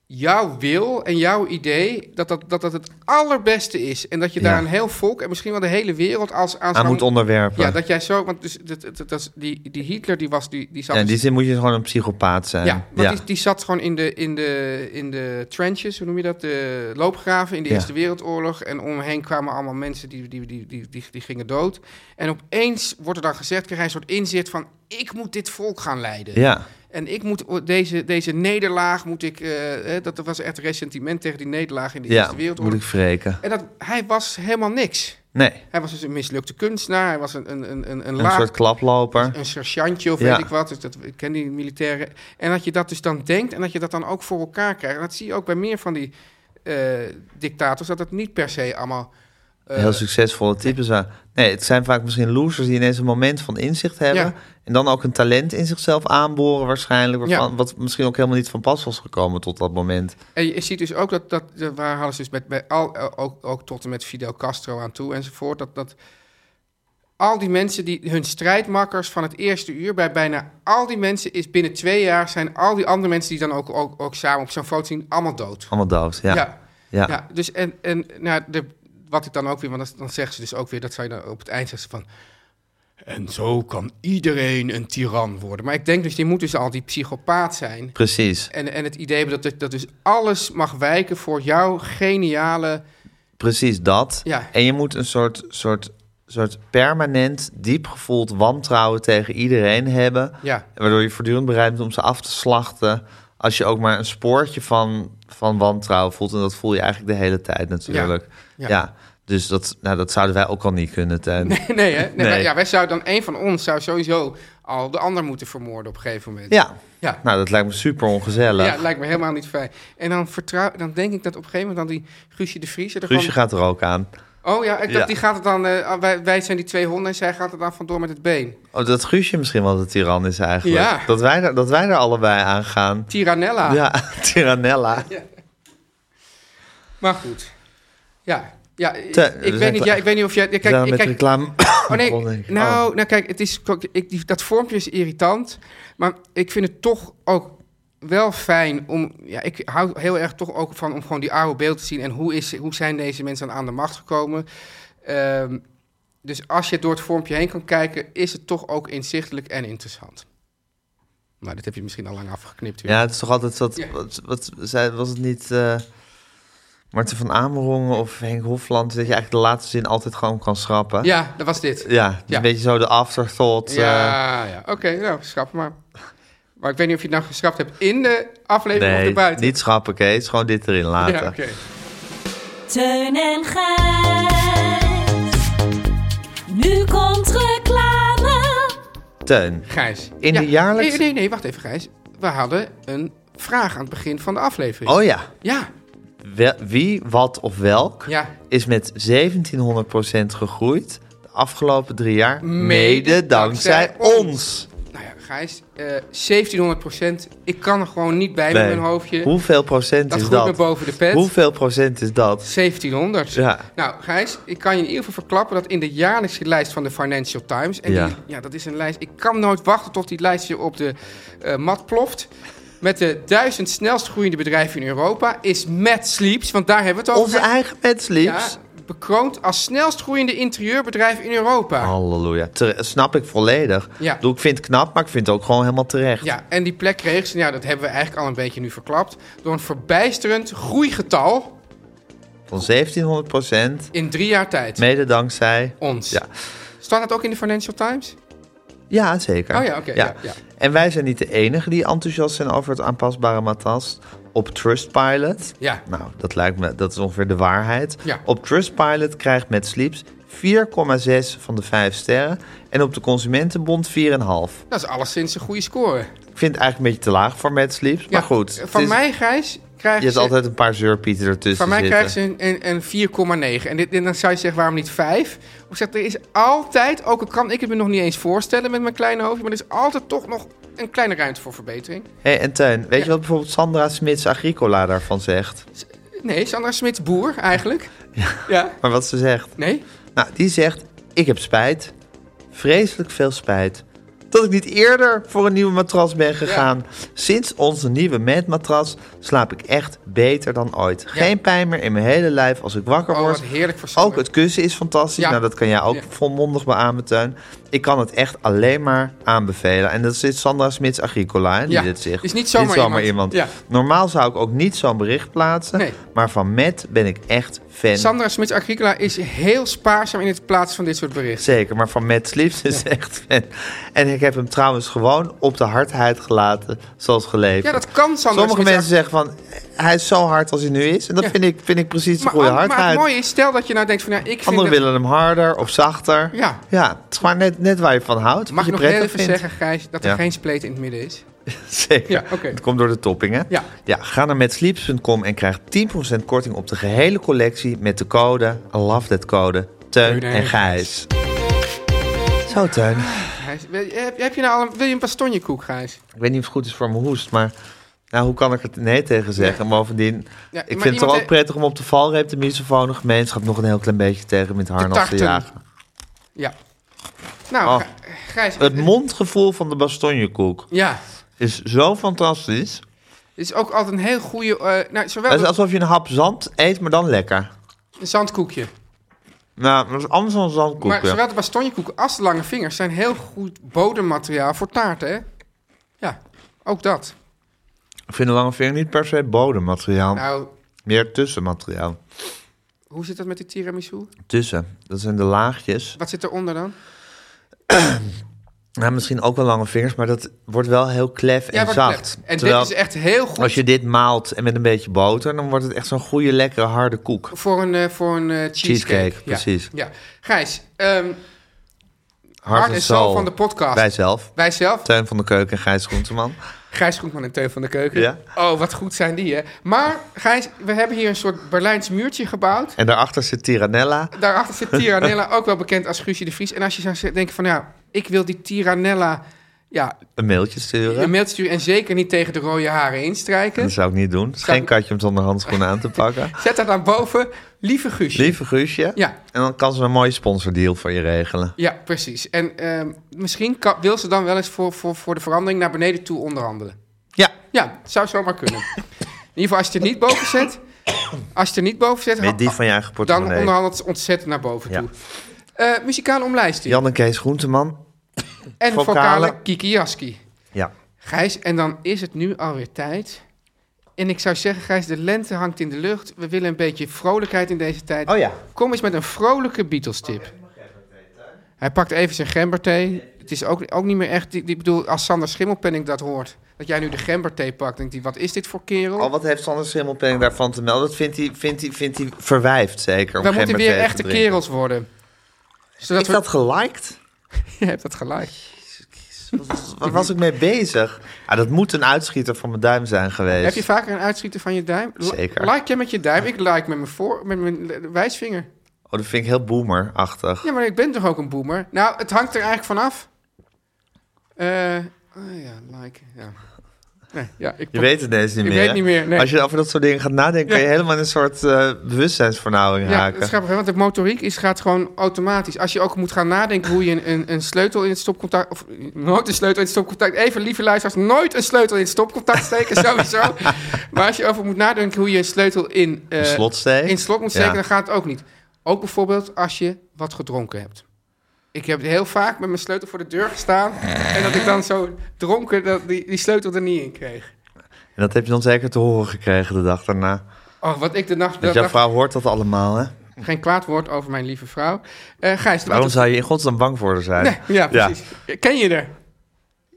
S3: jouw wil en jouw idee, dat dat, dat, dat het allerbeste is. En dat je
S2: Ja.
S3: daar een heel volk en misschien wel de hele wereld als aan,
S2: Aan
S3: zou-
S2: moet onderwerpen.
S3: Ja, dat jij zo, want dus, dat, dat, dat, is- die, die Hitler die was, die, die zat
S2: Ja, in
S3: dus-
S2: die zin moet je gewoon een psychopaat zijn.
S3: Ja, want Die, die zat gewoon in de, in, de, in de trenches, hoe noem je dat? De loopgraven in de
S2: Ja.
S3: Eerste Wereldoorlog. En om hem heen kwamen allemaal mensen die, die, die, die, die, die gingen dood. En opeens wordt er dan gezegd, krijg hij een soort inzicht van... ik moet dit volk gaan leiden.
S2: Ja,
S3: En ik moet o- deze, deze nederlaag, moet ik... eh, hè, dat was echt ressentiment tegen die nederlaag in de
S2: ja,
S3: Eerste
S2: moet
S3: Wereldoorlog.
S2: ik wreken.
S3: En dat, hij was helemaal niks.
S2: Nee,
S3: Hij was dus een mislukte kunstenaar. Hij was een, een, een, een, een
S2: een
S3: laag
S2: soort klaploper.
S3: een sergeantje of
S2: Ja.
S3: weet ik wat. Dus dat, ik ken die militairen. En dat je dat dus dan denkt en dat je dat dan ook voor elkaar krijgt. En dat zie je ook bij meer van die eh, dictators, dat het niet per se allemaal
S2: heel succesvolle types waren. Nee, het zijn vaak misschien losers die ineens een moment van inzicht hebben.
S3: Ja.
S2: En dan ook een talent in zichzelf aanboren waarschijnlijk. Waarvan,
S3: Ja.
S2: Wat misschien ook helemaal niet van pas was gekomen tot dat moment.
S3: En je ziet dus ook dat, dat dat waar hadden ze dus met, bij al, eh, ook, ook tot en met Fidel Castro aan toe enzovoort, dat, dat al die mensen die hun strijdmakkers van het eerste uur, bij bijna al die mensen is binnen twee jaar zijn al die andere mensen die dan ook, ook, ook samen op zo'n foto zien, allemaal dood.
S2: Allemaal dood, ja.
S3: Ja.
S2: Ja.
S3: Ja, dus en, en nou, de, wat ik dan ook weer, want dat- dan zeggen ze dus ook weer, dat zou je dan op het eind zeggen van. En zo kan iedereen een tiran worden. Maar ik denk dus, je moet dus al die psychopaat zijn.
S2: Precies,
S3: En, en het idee hebben dat, dat dus alles mag wijken voor jouw geniale.
S2: precies dat.
S3: Ja.
S2: En je moet een soort, soort, soort permanent, diep gevoeld wantrouwen tegen iedereen hebben.
S3: Ja.
S2: Waardoor je voortdurend bereid bent om ze af te slachten. Als je ook maar een spoortje van, van wantrouwen voelt. En dat voel je eigenlijk de hele tijd natuurlijk.
S3: Ja.
S2: Ja. Dus dat, nou, dat zouden wij ook al niet kunnen. Tijn.
S3: Nee, hè? Nee,
S2: Nee.
S3: wij- ja, wij zouden dan, een van ons zou sowieso al de ander moeten vermoorden op een gegeven moment.
S2: Ja.
S3: Ja.
S2: Nou, dat lijkt me super ongezellig.
S3: Ja, het lijkt me helemaal niet fijn. En dan, vertrouw, dan denk ik dat op een gegeven moment dan die Guusje de Vries er gewoon-
S2: Guusje gaat er ook aan.
S3: Oh ja, ik dacht,
S2: Ja.
S3: die gaat het dan... eh, wij, wij zijn die twee honden en zij gaat het dan vandoor met het been.
S2: Oh, dat Guusje misschien wel de tiran is eigenlijk.
S3: Ja.
S2: Dat, wij er, dat wij er allebei aan gaan.
S3: Tiranella.
S2: Ja, Tiranella.
S3: Maar goed. Ja, ja ik,
S2: Te-
S3: ik
S2: we zijn
S3: weet niet,
S2: klaar.
S3: ja, ik weet niet of jij... ja,
S2: Kijk,
S3: Kijk, ik,
S2: met
S3: kijk,
S2: reclame.
S3: Oh nee,
S2: begonnen, denk ik.
S3: nou, nou kijk, het is, ik, die, dat vormpje is irritant. Maar ik vind het toch ook wel fijn om... Ja, ik hou heel erg toch ook van om gewoon die oude beelden te zien. En hoe, is, hoe zijn deze mensen dan aan de macht gekomen? Ehm, dus als je door het vormpje heen kan kijken... is het toch ook inzichtelijk en interessant. Maar dat heb je misschien al lang afgeknipt. weer.
S2: Ja, het is toch altijd dat.
S3: Ja.
S2: Wat, wat, zei- was het niet eh Marten van Amerongen of Henk Hofland? Dat je eigenlijk de laatste zin altijd gewoon kan schrappen.
S3: ja, dat was dit.
S2: Ja, het is
S3: Ja.
S2: een beetje zo de afterthought. eh,
S3: Ja, ja. oké, nou, schrap maar. Maar ik weet niet of je het nou geschrapt hebt in de aflevering of
S2: nee,
S3: erbuiten.
S2: niet schrappen, Kees. Gewoon dit erin laten.
S3: Ja, oké.
S6: Teun en Gijs. Nu komt reclame.
S2: Teun.
S3: Gijs.
S2: In de jaarlijks-
S3: Nee, nee, nee, wacht even, Gijs. We hadden een vraag aan het begin van de aflevering.
S2: Oh ja.
S3: Ja,
S2: Wel- wie, wat of welk
S3: Ja.
S2: is met 1700% gegroeid de afgelopen drie jaar. Mede dankzij
S3: dankzij
S2: ons.
S3: nou ja, Gijs, eh 1700 Ik kan er gewoon niet bij met
S2: Nee.
S3: mijn hoofdje.
S2: Hoeveel procent
S3: Dat
S2: is
S3: groeit
S2: dat?
S3: me boven de pet.
S2: Hoeveel procent is dat?
S3: 1700.
S2: Ja.
S3: Nou, Gijs, ik kan je in ieder geval verklappen dat in de jaarlijkse lijst van de Financial Times. En
S2: Ja.
S3: Die, ja, dat is een lijst. Ik kan nooit wachten tot die lijst je op de eh, mat ploft. Met de duizend snelst groeiende bedrijven in Europa is Mad Sleeps, want daar hebben we het over.
S2: Onze
S3: Gijs.
S2: eigen mensliefs.
S3: Ja, bekroond als snelst groeiende interieurbedrijf in Europa.
S2: Oh. Halleluja. Tere- snap ik volledig.
S3: Ja.
S2: Ik bedoel, Ik vind het knap, maar ik vind het ook gewoon helemaal terecht.
S3: Ja, en die plek kreeg ze, ja, dat hebben we eigenlijk al een beetje nu verklapt, door een verbijsterend groeigetal
S2: Van 1700 procent,
S3: in drie jaar tijd.
S2: mede dankzij...
S3: ons.
S2: Ja.
S3: Staat dat ook in de Financial Times?
S2: Ja, zeker.
S3: Oh ja, oké, ja, ja.
S2: En wij zijn niet de enigen die enthousiast zijn over het aanpasbare matras. Op Trustpilot...
S3: Ja.
S2: Nou, dat lijkt me, dat is ongeveer de waarheid.
S3: Ja.
S2: Op Trustpilot krijgt met Sleeps 4,6 van de 5 sterren. En op de Consumentenbond 4,5.
S3: Dat is alleszins een goede score.
S2: Ik vind het eigenlijk een beetje te laag voor Mad Sleeps.
S3: Ja,
S2: maar goed. het
S3: Van
S2: is-
S3: mij, Gijs, krijgt
S2: Je hebt
S3: ze,
S2: altijd een paar zeurpieten ertussen
S3: van mij
S2: zitten.
S3: krijgt ze een, een, een 4,9. En, dit- en dan zou je zeggen, waarom niet 5? Of ik zeg, er is altijd, ook al kan ik het me nog niet eens voorstellen met mijn kleine hoofdje, maar er is altijd toch nog een kleine ruimte voor verbetering.
S2: Hey, en Teun, weet je wat bijvoorbeeld Sandra Smits Agricola daarvan zegt?
S3: Nee, Sandra Smits boer eigenlijk. ja.
S2: Maar wat ze zegt?
S3: Nee?
S2: Nou, die zegt: Ik heb spijt. Vreselijk veel spijt. Dat ik niet eerder voor een nieuwe matras ben gegaan. Sinds onze nieuwe matmatras slaap ik echt beter dan ooit. Geen pijn meer in mijn hele lijf als ik wakker
S3: Oh,
S2: word.
S3: wat heerlijk voor Sandra.
S2: Ook het kussen is fantastisch.
S3: Ja.
S2: Nou, dat kan jij ook
S3: Ja.
S2: volmondig beamen, Teun. Ik kan het echt alleen maar aanbevelen. En dat is Sandra Smits Agricola, hè, die
S3: Ja,
S2: dit zegt.
S3: is niet zomaar
S2: Dit zomaar
S3: iemand.
S2: iemand.
S3: Ja.
S2: Normaal zou ik ook niet zo'n bericht plaatsen.
S3: Nee.
S2: Maar van Matt ben ik echt fan.
S3: Sandra Smits Agricola is heel spaarzaam in het plaatsen van dit soort berichten.
S2: Zeker, maar van Matt Sleeps is echt fan. En ik heb hem trouwens gewoon op de hardheid gelaten, zoals geleverd.
S3: Ja, dat kan Sandra
S2: Sommige
S3: Smits-
S2: mensen zeggen van, hij is zo hard als hij nu is. En dat
S3: Ja.
S2: vind, ik, vind ik precies de
S3: Maar,
S2: goede
S3: maar, het
S2: hardheid.
S3: mooie is, stel dat je nou denkt van, ja, ik vind
S2: Anderen
S3: dat-
S2: willen hem harder of zachter.
S3: Ja.
S2: ja het is maar net, net waar je van houdt. wat
S3: Mag
S2: je
S3: ik nog heel
S2: prettig
S3: even
S2: vindt.
S3: zeggen, Gijs, dat er
S2: Ja.
S3: geen spleet in het midden is?
S2: Zeker.
S3: Ja, oké.
S2: Het komt door de topping, hè?
S3: Ja.
S2: ga naar metsleeps.com en krijg 10% korting op de gehele collectie met de code, I love that code, Teun
S3: Teun
S2: en
S3: en
S2: Gijs. Zo, Teun.
S3: Gijs, wil- heb, heb je nou al een, wil je een bastonjekoek, Gijs?
S2: Ik weet niet of het goed is voor mijn hoest, maar... Nou, hoe kan ik er nee tegen zeggen? En Bovendien,
S3: maar
S2: ik vind het toch
S3: iemand-
S2: ook prettig om op de valreep de misofone gemeenschap nog een heel klein beetje tegen met harnas te
S3: tarten.
S2: jagen.
S3: Ja. Nou,
S2: Oh.
S3: Gij- Gijs...
S2: Het mondgevoel van de bastonjekoek
S3: Ja.
S2: is zo fantastisch.
S3: Het is ook altijd een heel goede... eh, nou, zowel
S2: Het is
S3: dat-
S2: alsof je een hap zand eet, maar dan lekker.
S3: een zandkoekje.
S2: Nou, dat is anders dan
S3: Maar
S2: zandkoeken.
S3: zowel de bastonjekoeken als de lange vingers zijn heel goed bodemmateriaal voor taarten, hè? Ja, ook dat.
S2: Ik vind de lange vinger niet per se bodemmateriaal.
S3: Nou,
S2: Meer tussenmateriaal.
S3: hoe zit dat met die tiramisu?
S2: Tussen. Dat zijn de laagjes.
S3: Wat zit eronder dan?
S2: Nou, misschien ook wel lange vingers, maar dat wordt wel heel klef en
S3: wordt
S2: zacht.
S3: gelegd. En
S2: Terwijl,
S3: dit is echt heel goed
S2: als je dit maalt en met een beetje boter, dan wordt het echt zo'n goede, lekkere, harde koek.
S3: voor een, eh, voor een eh, cheesecake.
S2: Cheesecake,
S3: Ja,
S2: precies.
S3: Ja. Gijs, ehm,
S2: Hart
S3: en ziel van de podcast.
S2: Wij zelf.
S3: wij zelf,
S2: Teun van de Keuken en Gijs Groenteman.
S3: Gijs Groenman en Teun van de Keuken.
S2: Ja.
S3: Oh, wat goed zijn die, hè? Maar, Gijs, we hebben hier een soort Berlijns muurtje gebouwd.
S2: En daarachter zit Tiranella.
S3: Daarachter zit Tiranella, ook wel bekend als Guusje de Vries. En als je zou denken van, ja, ik wil die Tiranella ja,
S2: Een mailtje sturen.
S3: een mailtje sturen... en zeker niet tegen de rode haren instrijken...
S2: Dat zou ik niet doen. Het is
S3: Zou-
S2: geen katje om zonder handschoenen aan te pakken.
S3: zet daar dan boven, lieve Guusje.
S2: Lieve Guusje.
S3: Ja.
S2: En dan kan ze een mooie sponsordeal voor je regelen.
S3: Ja, precies. En ehm, misschien kan, wil ze dan wel eens voor, voor, voor de verandering naar beneden toe onderhandelen.
S2: Ja.
S3: Ja, het zou zomaar kunnen. In ieder geval, als je het niet boven zet... Als je het niet boven zet,
S2: Met die van je eigen
S3: dan
S2: portemonnee.
S3: onderhandelt ze ontzettend naar boven
S2: Ja.
S3: toe. Eh, muzikale omlijsting.
S2: Jan en Kees Groenteman.
S3: en
S2: vocale.
S3: vocale Kiki Jaski.
S2: Ja.
S3: Gijs, en dan is het nu alweer tijd. En ik zou zeggen, Gijs, de lente hangt in de lucht. We willen een beetje vrolijkheid in deze tijd.
S2: Oh ja.
S3: Kom eens met een vrolijke Beatles-tip. Hij pakt even zijn gemberthee. Het is ook, ook niet meer echt... die- die- Ik bedoel, als Sander Schimmelpenning dat hoort... dat jij nu de gemberthee pakt, denkt hij... wat is dit voor kerel?
S2: Al Oh, wat heeft Sander Schimmelpenning daarvan te melden? Dat vindt hij, vindt hij, vindt hij verwijfd zeker. om
S3: we moeten
S2: gemberthee
S3: weer
S2: te
S3: echte
S2: drinken.
S3: kerels worden. Zodat
S2: Is dat geliked?
S3: we... Je hebt dat gelijk.
S2: Waar was ik mee bezig? Ah, dat moet een uitschieter van mijn duim zijn geweest.
S3: Heb je vaker een uitschieter van je duim? Li-
S2: Zeker.
S3: Like jij met je duim? Ik like met mijn, voor, met mijn le- wijsvinger.
S2: Oh, dat vind ik heel boomerachtig.
S3: Ja, maar ik ben toch ook een boomer? Nou, het hangt er eigenlijk vanaf. Eh oh ja, like. Ja, nee, ja ik
S2: Je weet het deze niet
S3: Ik
S2: meer.
S3: weet
S2: hè?
S3: niet meer, nee.
S2: Als je over dat soort dingen gaat nadenken, kan je helemaal in een soort eh, bewustzijnsvernauwing
S3: Ja, dat
S2: raken.
S3: is grappig, hè, want de motoriek is, gaat gewoon automatisch. Als je ook moet gaan nadenken hoe je een, een, een sleutel in het stopcontact... of nooit een sleutel in het stopcontact... even, lieve luisteraars, nooit een sleutel in het stopcontact steken, sowieso. Maar als je over moet nadenken hoe je een sleutel in... eh,
S2: Een slot steekt.
S3: in slot moet steken,
S2: Ja.
S3: dan gaat het ook niet. Ook bijvoorbeeld als je wat gedronken hebt. Ik heb heel vaak met mijn sleutel voor de deur gestaan... en dat ik dan zo dronken dat die, die sleutel er niet in kreeg.
S2: En dat heb je dan zeker te horen gekregen de dag daarna.
S3: Oh, wat ik de nacht...
S2: Dat
S3: dat
S2: jouw
S3: nacht-
S2: vrouw hoort dat allemaal, hè?
S3: Geen kwaad woord over mijn lieve vrouw. Eh Gijs, de
S2: Waarom zou je in godsnaam bang voor haar zijn?
S3: Ja, precies. Ken je er?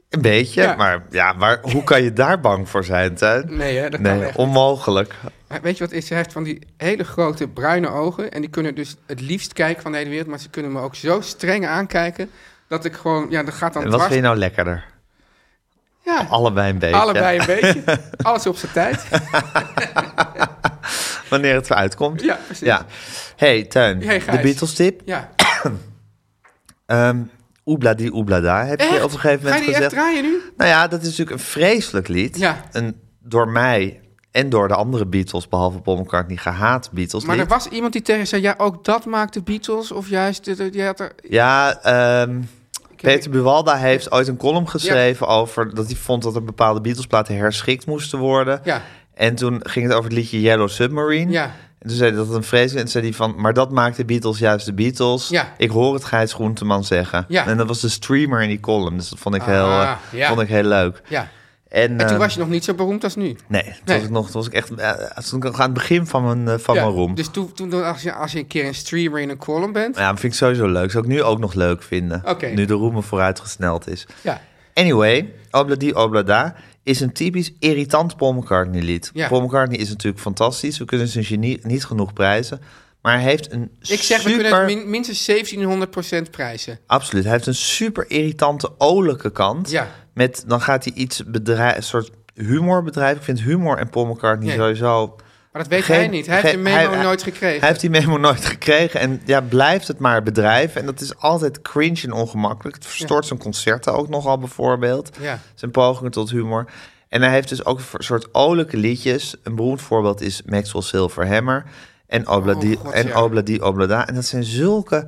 S2: Een beetje,
S3: Ja.
S2: maar ja, waar, hoe kan je daar bang voor zijn, Tuin?
S3: Nee, hè, dat kan
S2: Nee,
S3: echt.
S2: onmogelijk.
S3: Maar Weet je wat is? Ze heeft van die hele grote bruine ogen. En die kunnen dus het liefst kijken van de hele wereld. Maar ze kunnen me ook zo streng aankijken. Dat ik gewoon, ja, dat gaat dan
S2: En wat
S3: dwars.
S2: vind je nou lekkerder?
S3: Ja,
S2: Allebei een beetje.
S3: allebei een beetje. Alles op zijn tijd.
S2: Wanneer het eruit komt.
S3: Ja, precies.
S2: Ja. Hey, Tuin,
S3: Hey,
S2: de
S3: Gijs.
S2: Beatles tip.
S3: Ja.
S2: Ehm Oebla die oebla daar, heb je
S3: Echt?
S2: op een gegeven
S3: Ga
S2: moment
S3: je die echt
S2: gezegd.
S3: draaien nu?
S2: Nou ja, dat is natuurlijk een vreselijk lied.
S3: Ja.
S2: Een door mij en door de andere Beatles, behalve Paul McCartney, gehaat Beatles
S3: Maar
S2: lied.
S3: er was iemand die tegen zei, ja, ook dat maakt de Beatles. Of juist, de- de- die had er...
S2: Ja, ehm, Peter Buwalda heeft ooit een column geschreven over dat hij vond dat er bepaalde Beatlesplaten herschikt moesten worden.
S3: Ja.
S2: En toen ging het over het liedje Yellow Submarine.
S3: Ja.
S2: En toen zei hij dat het een vrees en toen zei hij van, maar dat maakt de Beatles juist de Beatles.
S3: Ja.
S2: Ik hoor het Gijs Groenteman zeggen.
S3: Ja.
S2: En dat was de streamer in die column, dus dat vond ik, heel,
S3: Ah,
S2: eh,
S3: ja.
S2: vond ik heel leuk.
S3: Ja.
S2: En,
S3: En toen
S2: eh,
S3: was je nog niet zo beroemd als nu.
S2: Nee, toen
S3: Nee.
S2: was ik nog, toen was ik echt eh, toen stond ik nog aan het begin van mijn, eh, van
S3: Ja,
S2: mijn roem.
S3: Dus toen, toen als, je, als je een keer een streamer in een column bent.
S2: Nou Ja, dat vind ik sowieso leuk. Zou ik nu ook nog leuk vinden.
S3: Oké.
S2: Nu de roem er vooruitgesneld is.
S3: Ja.
S2: Anyway, Obladi Oblada is een typisch irritant Paul McCartney lied.
S3: Ja.
S2: Paul McCartney is natuurlijk fantastisch. We kunnen zijn genie niet genoeg prijzen. Maar hij heeft een
S3: Ik zeg, we
S2: super...
S3: kunnen het min- minstens 1700% prijzen.
S2: Absoluut. Hij heeft een super irritante, olijke kant.
S3: Ja.
S2: Met, dan gaat hij iets bedrijf, een soort humorbedrijf. Ik vind humor en Paul McCartney
S3: Nee.
S2: sowieso...
S3: Maar dat weet
S2: geen-
S3: hij niet. Hij heeft
S2: geen-
S3: de memo
S2: hij-
S3: nooit gekregen.
S2: Hij heeft die memo nooit gekregen. En ja, blijft het maar bedrijven. En dat is altijd cringe en ongemakkelijk. Het verstoort zijn concerten ook nogal bijvoorbeeld.
S3: Ja.
S2: Zijn pogingen tot humor. En hij heeft dus ook een soort olijke liedjes. Een beroemd voorbeeld is Maxwell Silver Hammer. En Obladi,
S3: Oh, God,
S2: en
S3: ja.
S2: Obladi Oblada. En dat zijn zulke...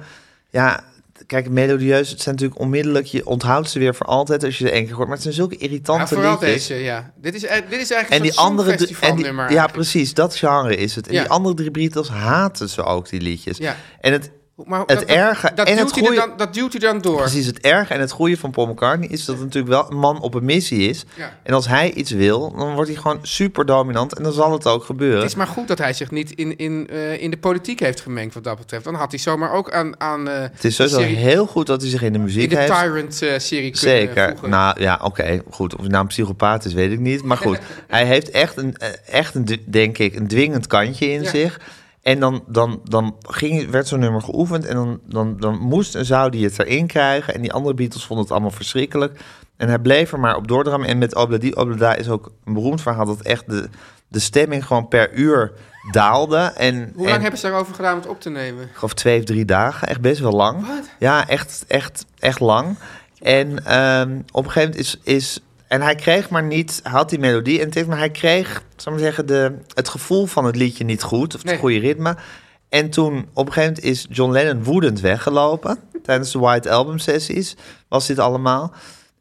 S2: Ja, kijk, melodieus. Het zijn natuurlijk onmiddellijk... Je onthoudt ze weer voor altijd als je ze één keer hoort. Maar het zijn zulke
S3: Maar
S2: irritante
S3: vooral
S2: liedjes.
S3: deze, ja. Dit is, eh, dit is eigenlijk
S2: En
S3: een
S2: die andere... drie- En die,
S3: festivalnummer.
S2: ja, precies. Dat genre is het. En
S3: Ja.
S2: die andere drie Beatles haten ze ook, die liedjes.
S3: Ja.
S2: En het,
S3: Maar
S2: het erge
S3: dat
S2: en
S3: duwt
S2: het
S3: hij er
S2: goede...
S3: dan, dat duwt hij dan door.
S2: Precies, het erge en het goede van Paul McCartney is dat het natuurlijk wel een man op een missie is.
S3: Ja.
S2: En als hij iets wil, dan wordt hij gewoon super dominant en dan zal het ook gebeuren.
S3: Het is maar goed dat hij zich niet in, in, eh, in de politiek heeft gemengd wat dat betreft. Dan had hij zomaar ook aan, aan eh,
S2: Het is sowieso
S3: de serie-
S2: heel goed dat hij zich in de
S3: in
S2: muziek
S3: de
S2: heeft.
S3: Tyrant-serie kunnen
S2: Zeker.
S3: voegen.
S2: Nou ja, oké, goed. Of hij nou een psychopaat is, weet ik niet. Maar goed, hij heeft echt een, eh, echt een, d- denk ik, een dwingend kantje in
S3: Ja.
S2: zich. En dan, dan, dan ging, werd zo'n nummer geoefend en dan, dan, dan moest en zou die het erin krijgen. En die andere Beatles vonden het allemaal verschrikkelijk. En hij bleef er maar op doordrammen. En met Obladi Oblada is ook een beroemd verhaal dat echt de, de stemming gewoon per uur daalde. En,
S3: Hoe
S2: en,
S3: lang hebben ze daarover gedaan om het op te nemen?
S2: ik geloof twee of drie dagen. Echt best wel lang. Ja, echt, echt, echt lang. En ehm, op een gegeven moment is, is... En hij kreeg maar niet... hij had die melodie en het heeft, maar hij kreeg... Zal ik maar zeggen, de, het gevoel van het liedje niet goed. Of het
S3: Nee.
S2: goede ritme. En toen, op een gegeven moment is John Lennon woedend weggelopen. tijdens de White Album sessies was dit allemaal.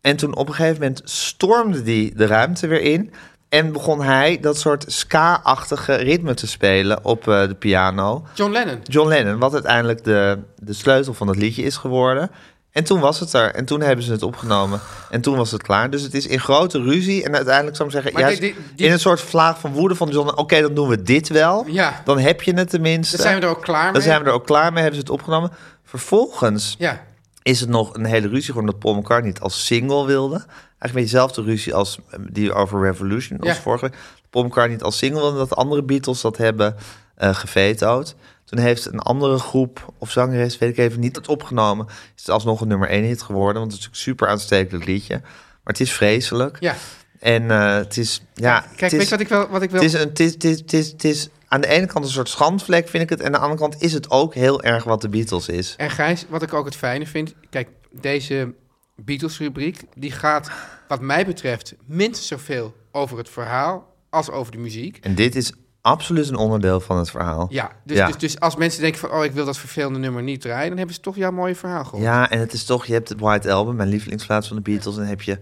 S2: En toen op een gegeven moment stormde die de ruimte weer in. En begon hij dat soort ska-achtige ritme te spelen op eh, de piano.
S3: John Lennon.
S2: John Lennon, wat uiteindelijk de, de sleutel van het liedje is geworden. En toen was het er. En toen hebben ze het opgenomen. En toen was het klaar. Dus het is in grote ruzie. En uiteindelijk zou ik zeggen,
S3: Maar
S2: ja,
S3: die- die- die-
S2: in een soort vlaag van woede van John Lennon. Oké, dan doen we dit wel.
S3: Ja.
S2: Dan heb je het tenminste.
S3: Dan zijn we er ook klaar mee.
S2: Dan zijn we er ook klaar mee. Hebben ze het opgenomen. Vervolgens
S3: Ja.
S2: is het nog een hele ruzie geworden dat Paul McCartney niet als single wilde. Eigenlijk een beetje dezelfde ruzie als eh, die over Revolution, als
S3: Ja.
S2: vorige week. Paul McCartney niet als single wilde, dat andere Beatles dat hebben eh gevetood. Toen heeft een andere groep of zangeres, weet ik even niet, het opgenomen. Is het alsnog een nummer 1 hit geworden, want het is een super aanstekelijk liedje. Maar het is vreselijk.
S3: Ja.
S2: En eh, het is, ja...
S3: Kijk,
S2: het
S3: weet
S2: is,
S3: je wat ik wel... Wat ik wil...
S2: het is, een, het, is, het, is, het, is, het is aan de ene kant een soort schandvlek, vind ik het. En aan de andere kant is het ook heel erg wat de Beatles is.
S3: En Gijs, wat ik ook het fijne vind... Kijk, deze Beatles-rubriek... die gaat, wat mij betreft... minstens zoveel over het verhaal... als over de muziek.
S2: En dit is absoluut een onderdeel van het verhaal.
S3: Ja, dus,
S2: ja.
S3: Dus, dus als mensen denken van... oh, ik wil dat vervelende nummer niet draaien... dan hebben ze toch jouw mooie verhaal gehoord.
S2: Ja, en het is toch, je hebt het White Album, mijn lievelingsplaats van de Beatles. En heb je,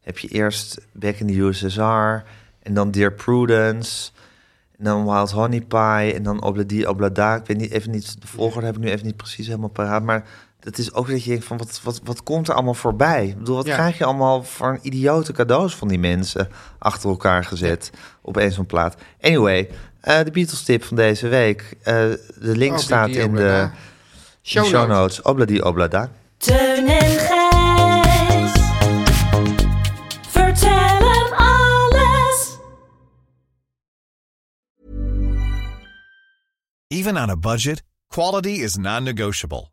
S2: heb je eerst Back in the USSR, en dan Dear Prudence, en dan Wild Honey Pie, en dan Obladi Oblada. Ik weet niet, even niet, de volgorde heb ik nu even niet precies helemaal paraat, maar... Het is ook dat je denkt van wat, wat, wat komt er allemaal voorbij? Ik bedoel, wat
S3: Ja.
S2: krijg je allemaal voor een idiote cadeaus van die mensen achter elkaar gezet op één zo'n plaat? Anyway, eh, de Beatles tip van deze week. Eh, de link
S3: Oh,
S2: staat
S3: die- die
S2: in
S3: ook weer
S2: de
S3: daar.
S2: show
S3: Show
S2: notes.
S3: notes.
S2: Obladi Oblada.
S6: Teun en Gijs. Vertel hem alles.
S8: Even on a budget, quality is non-negotiable.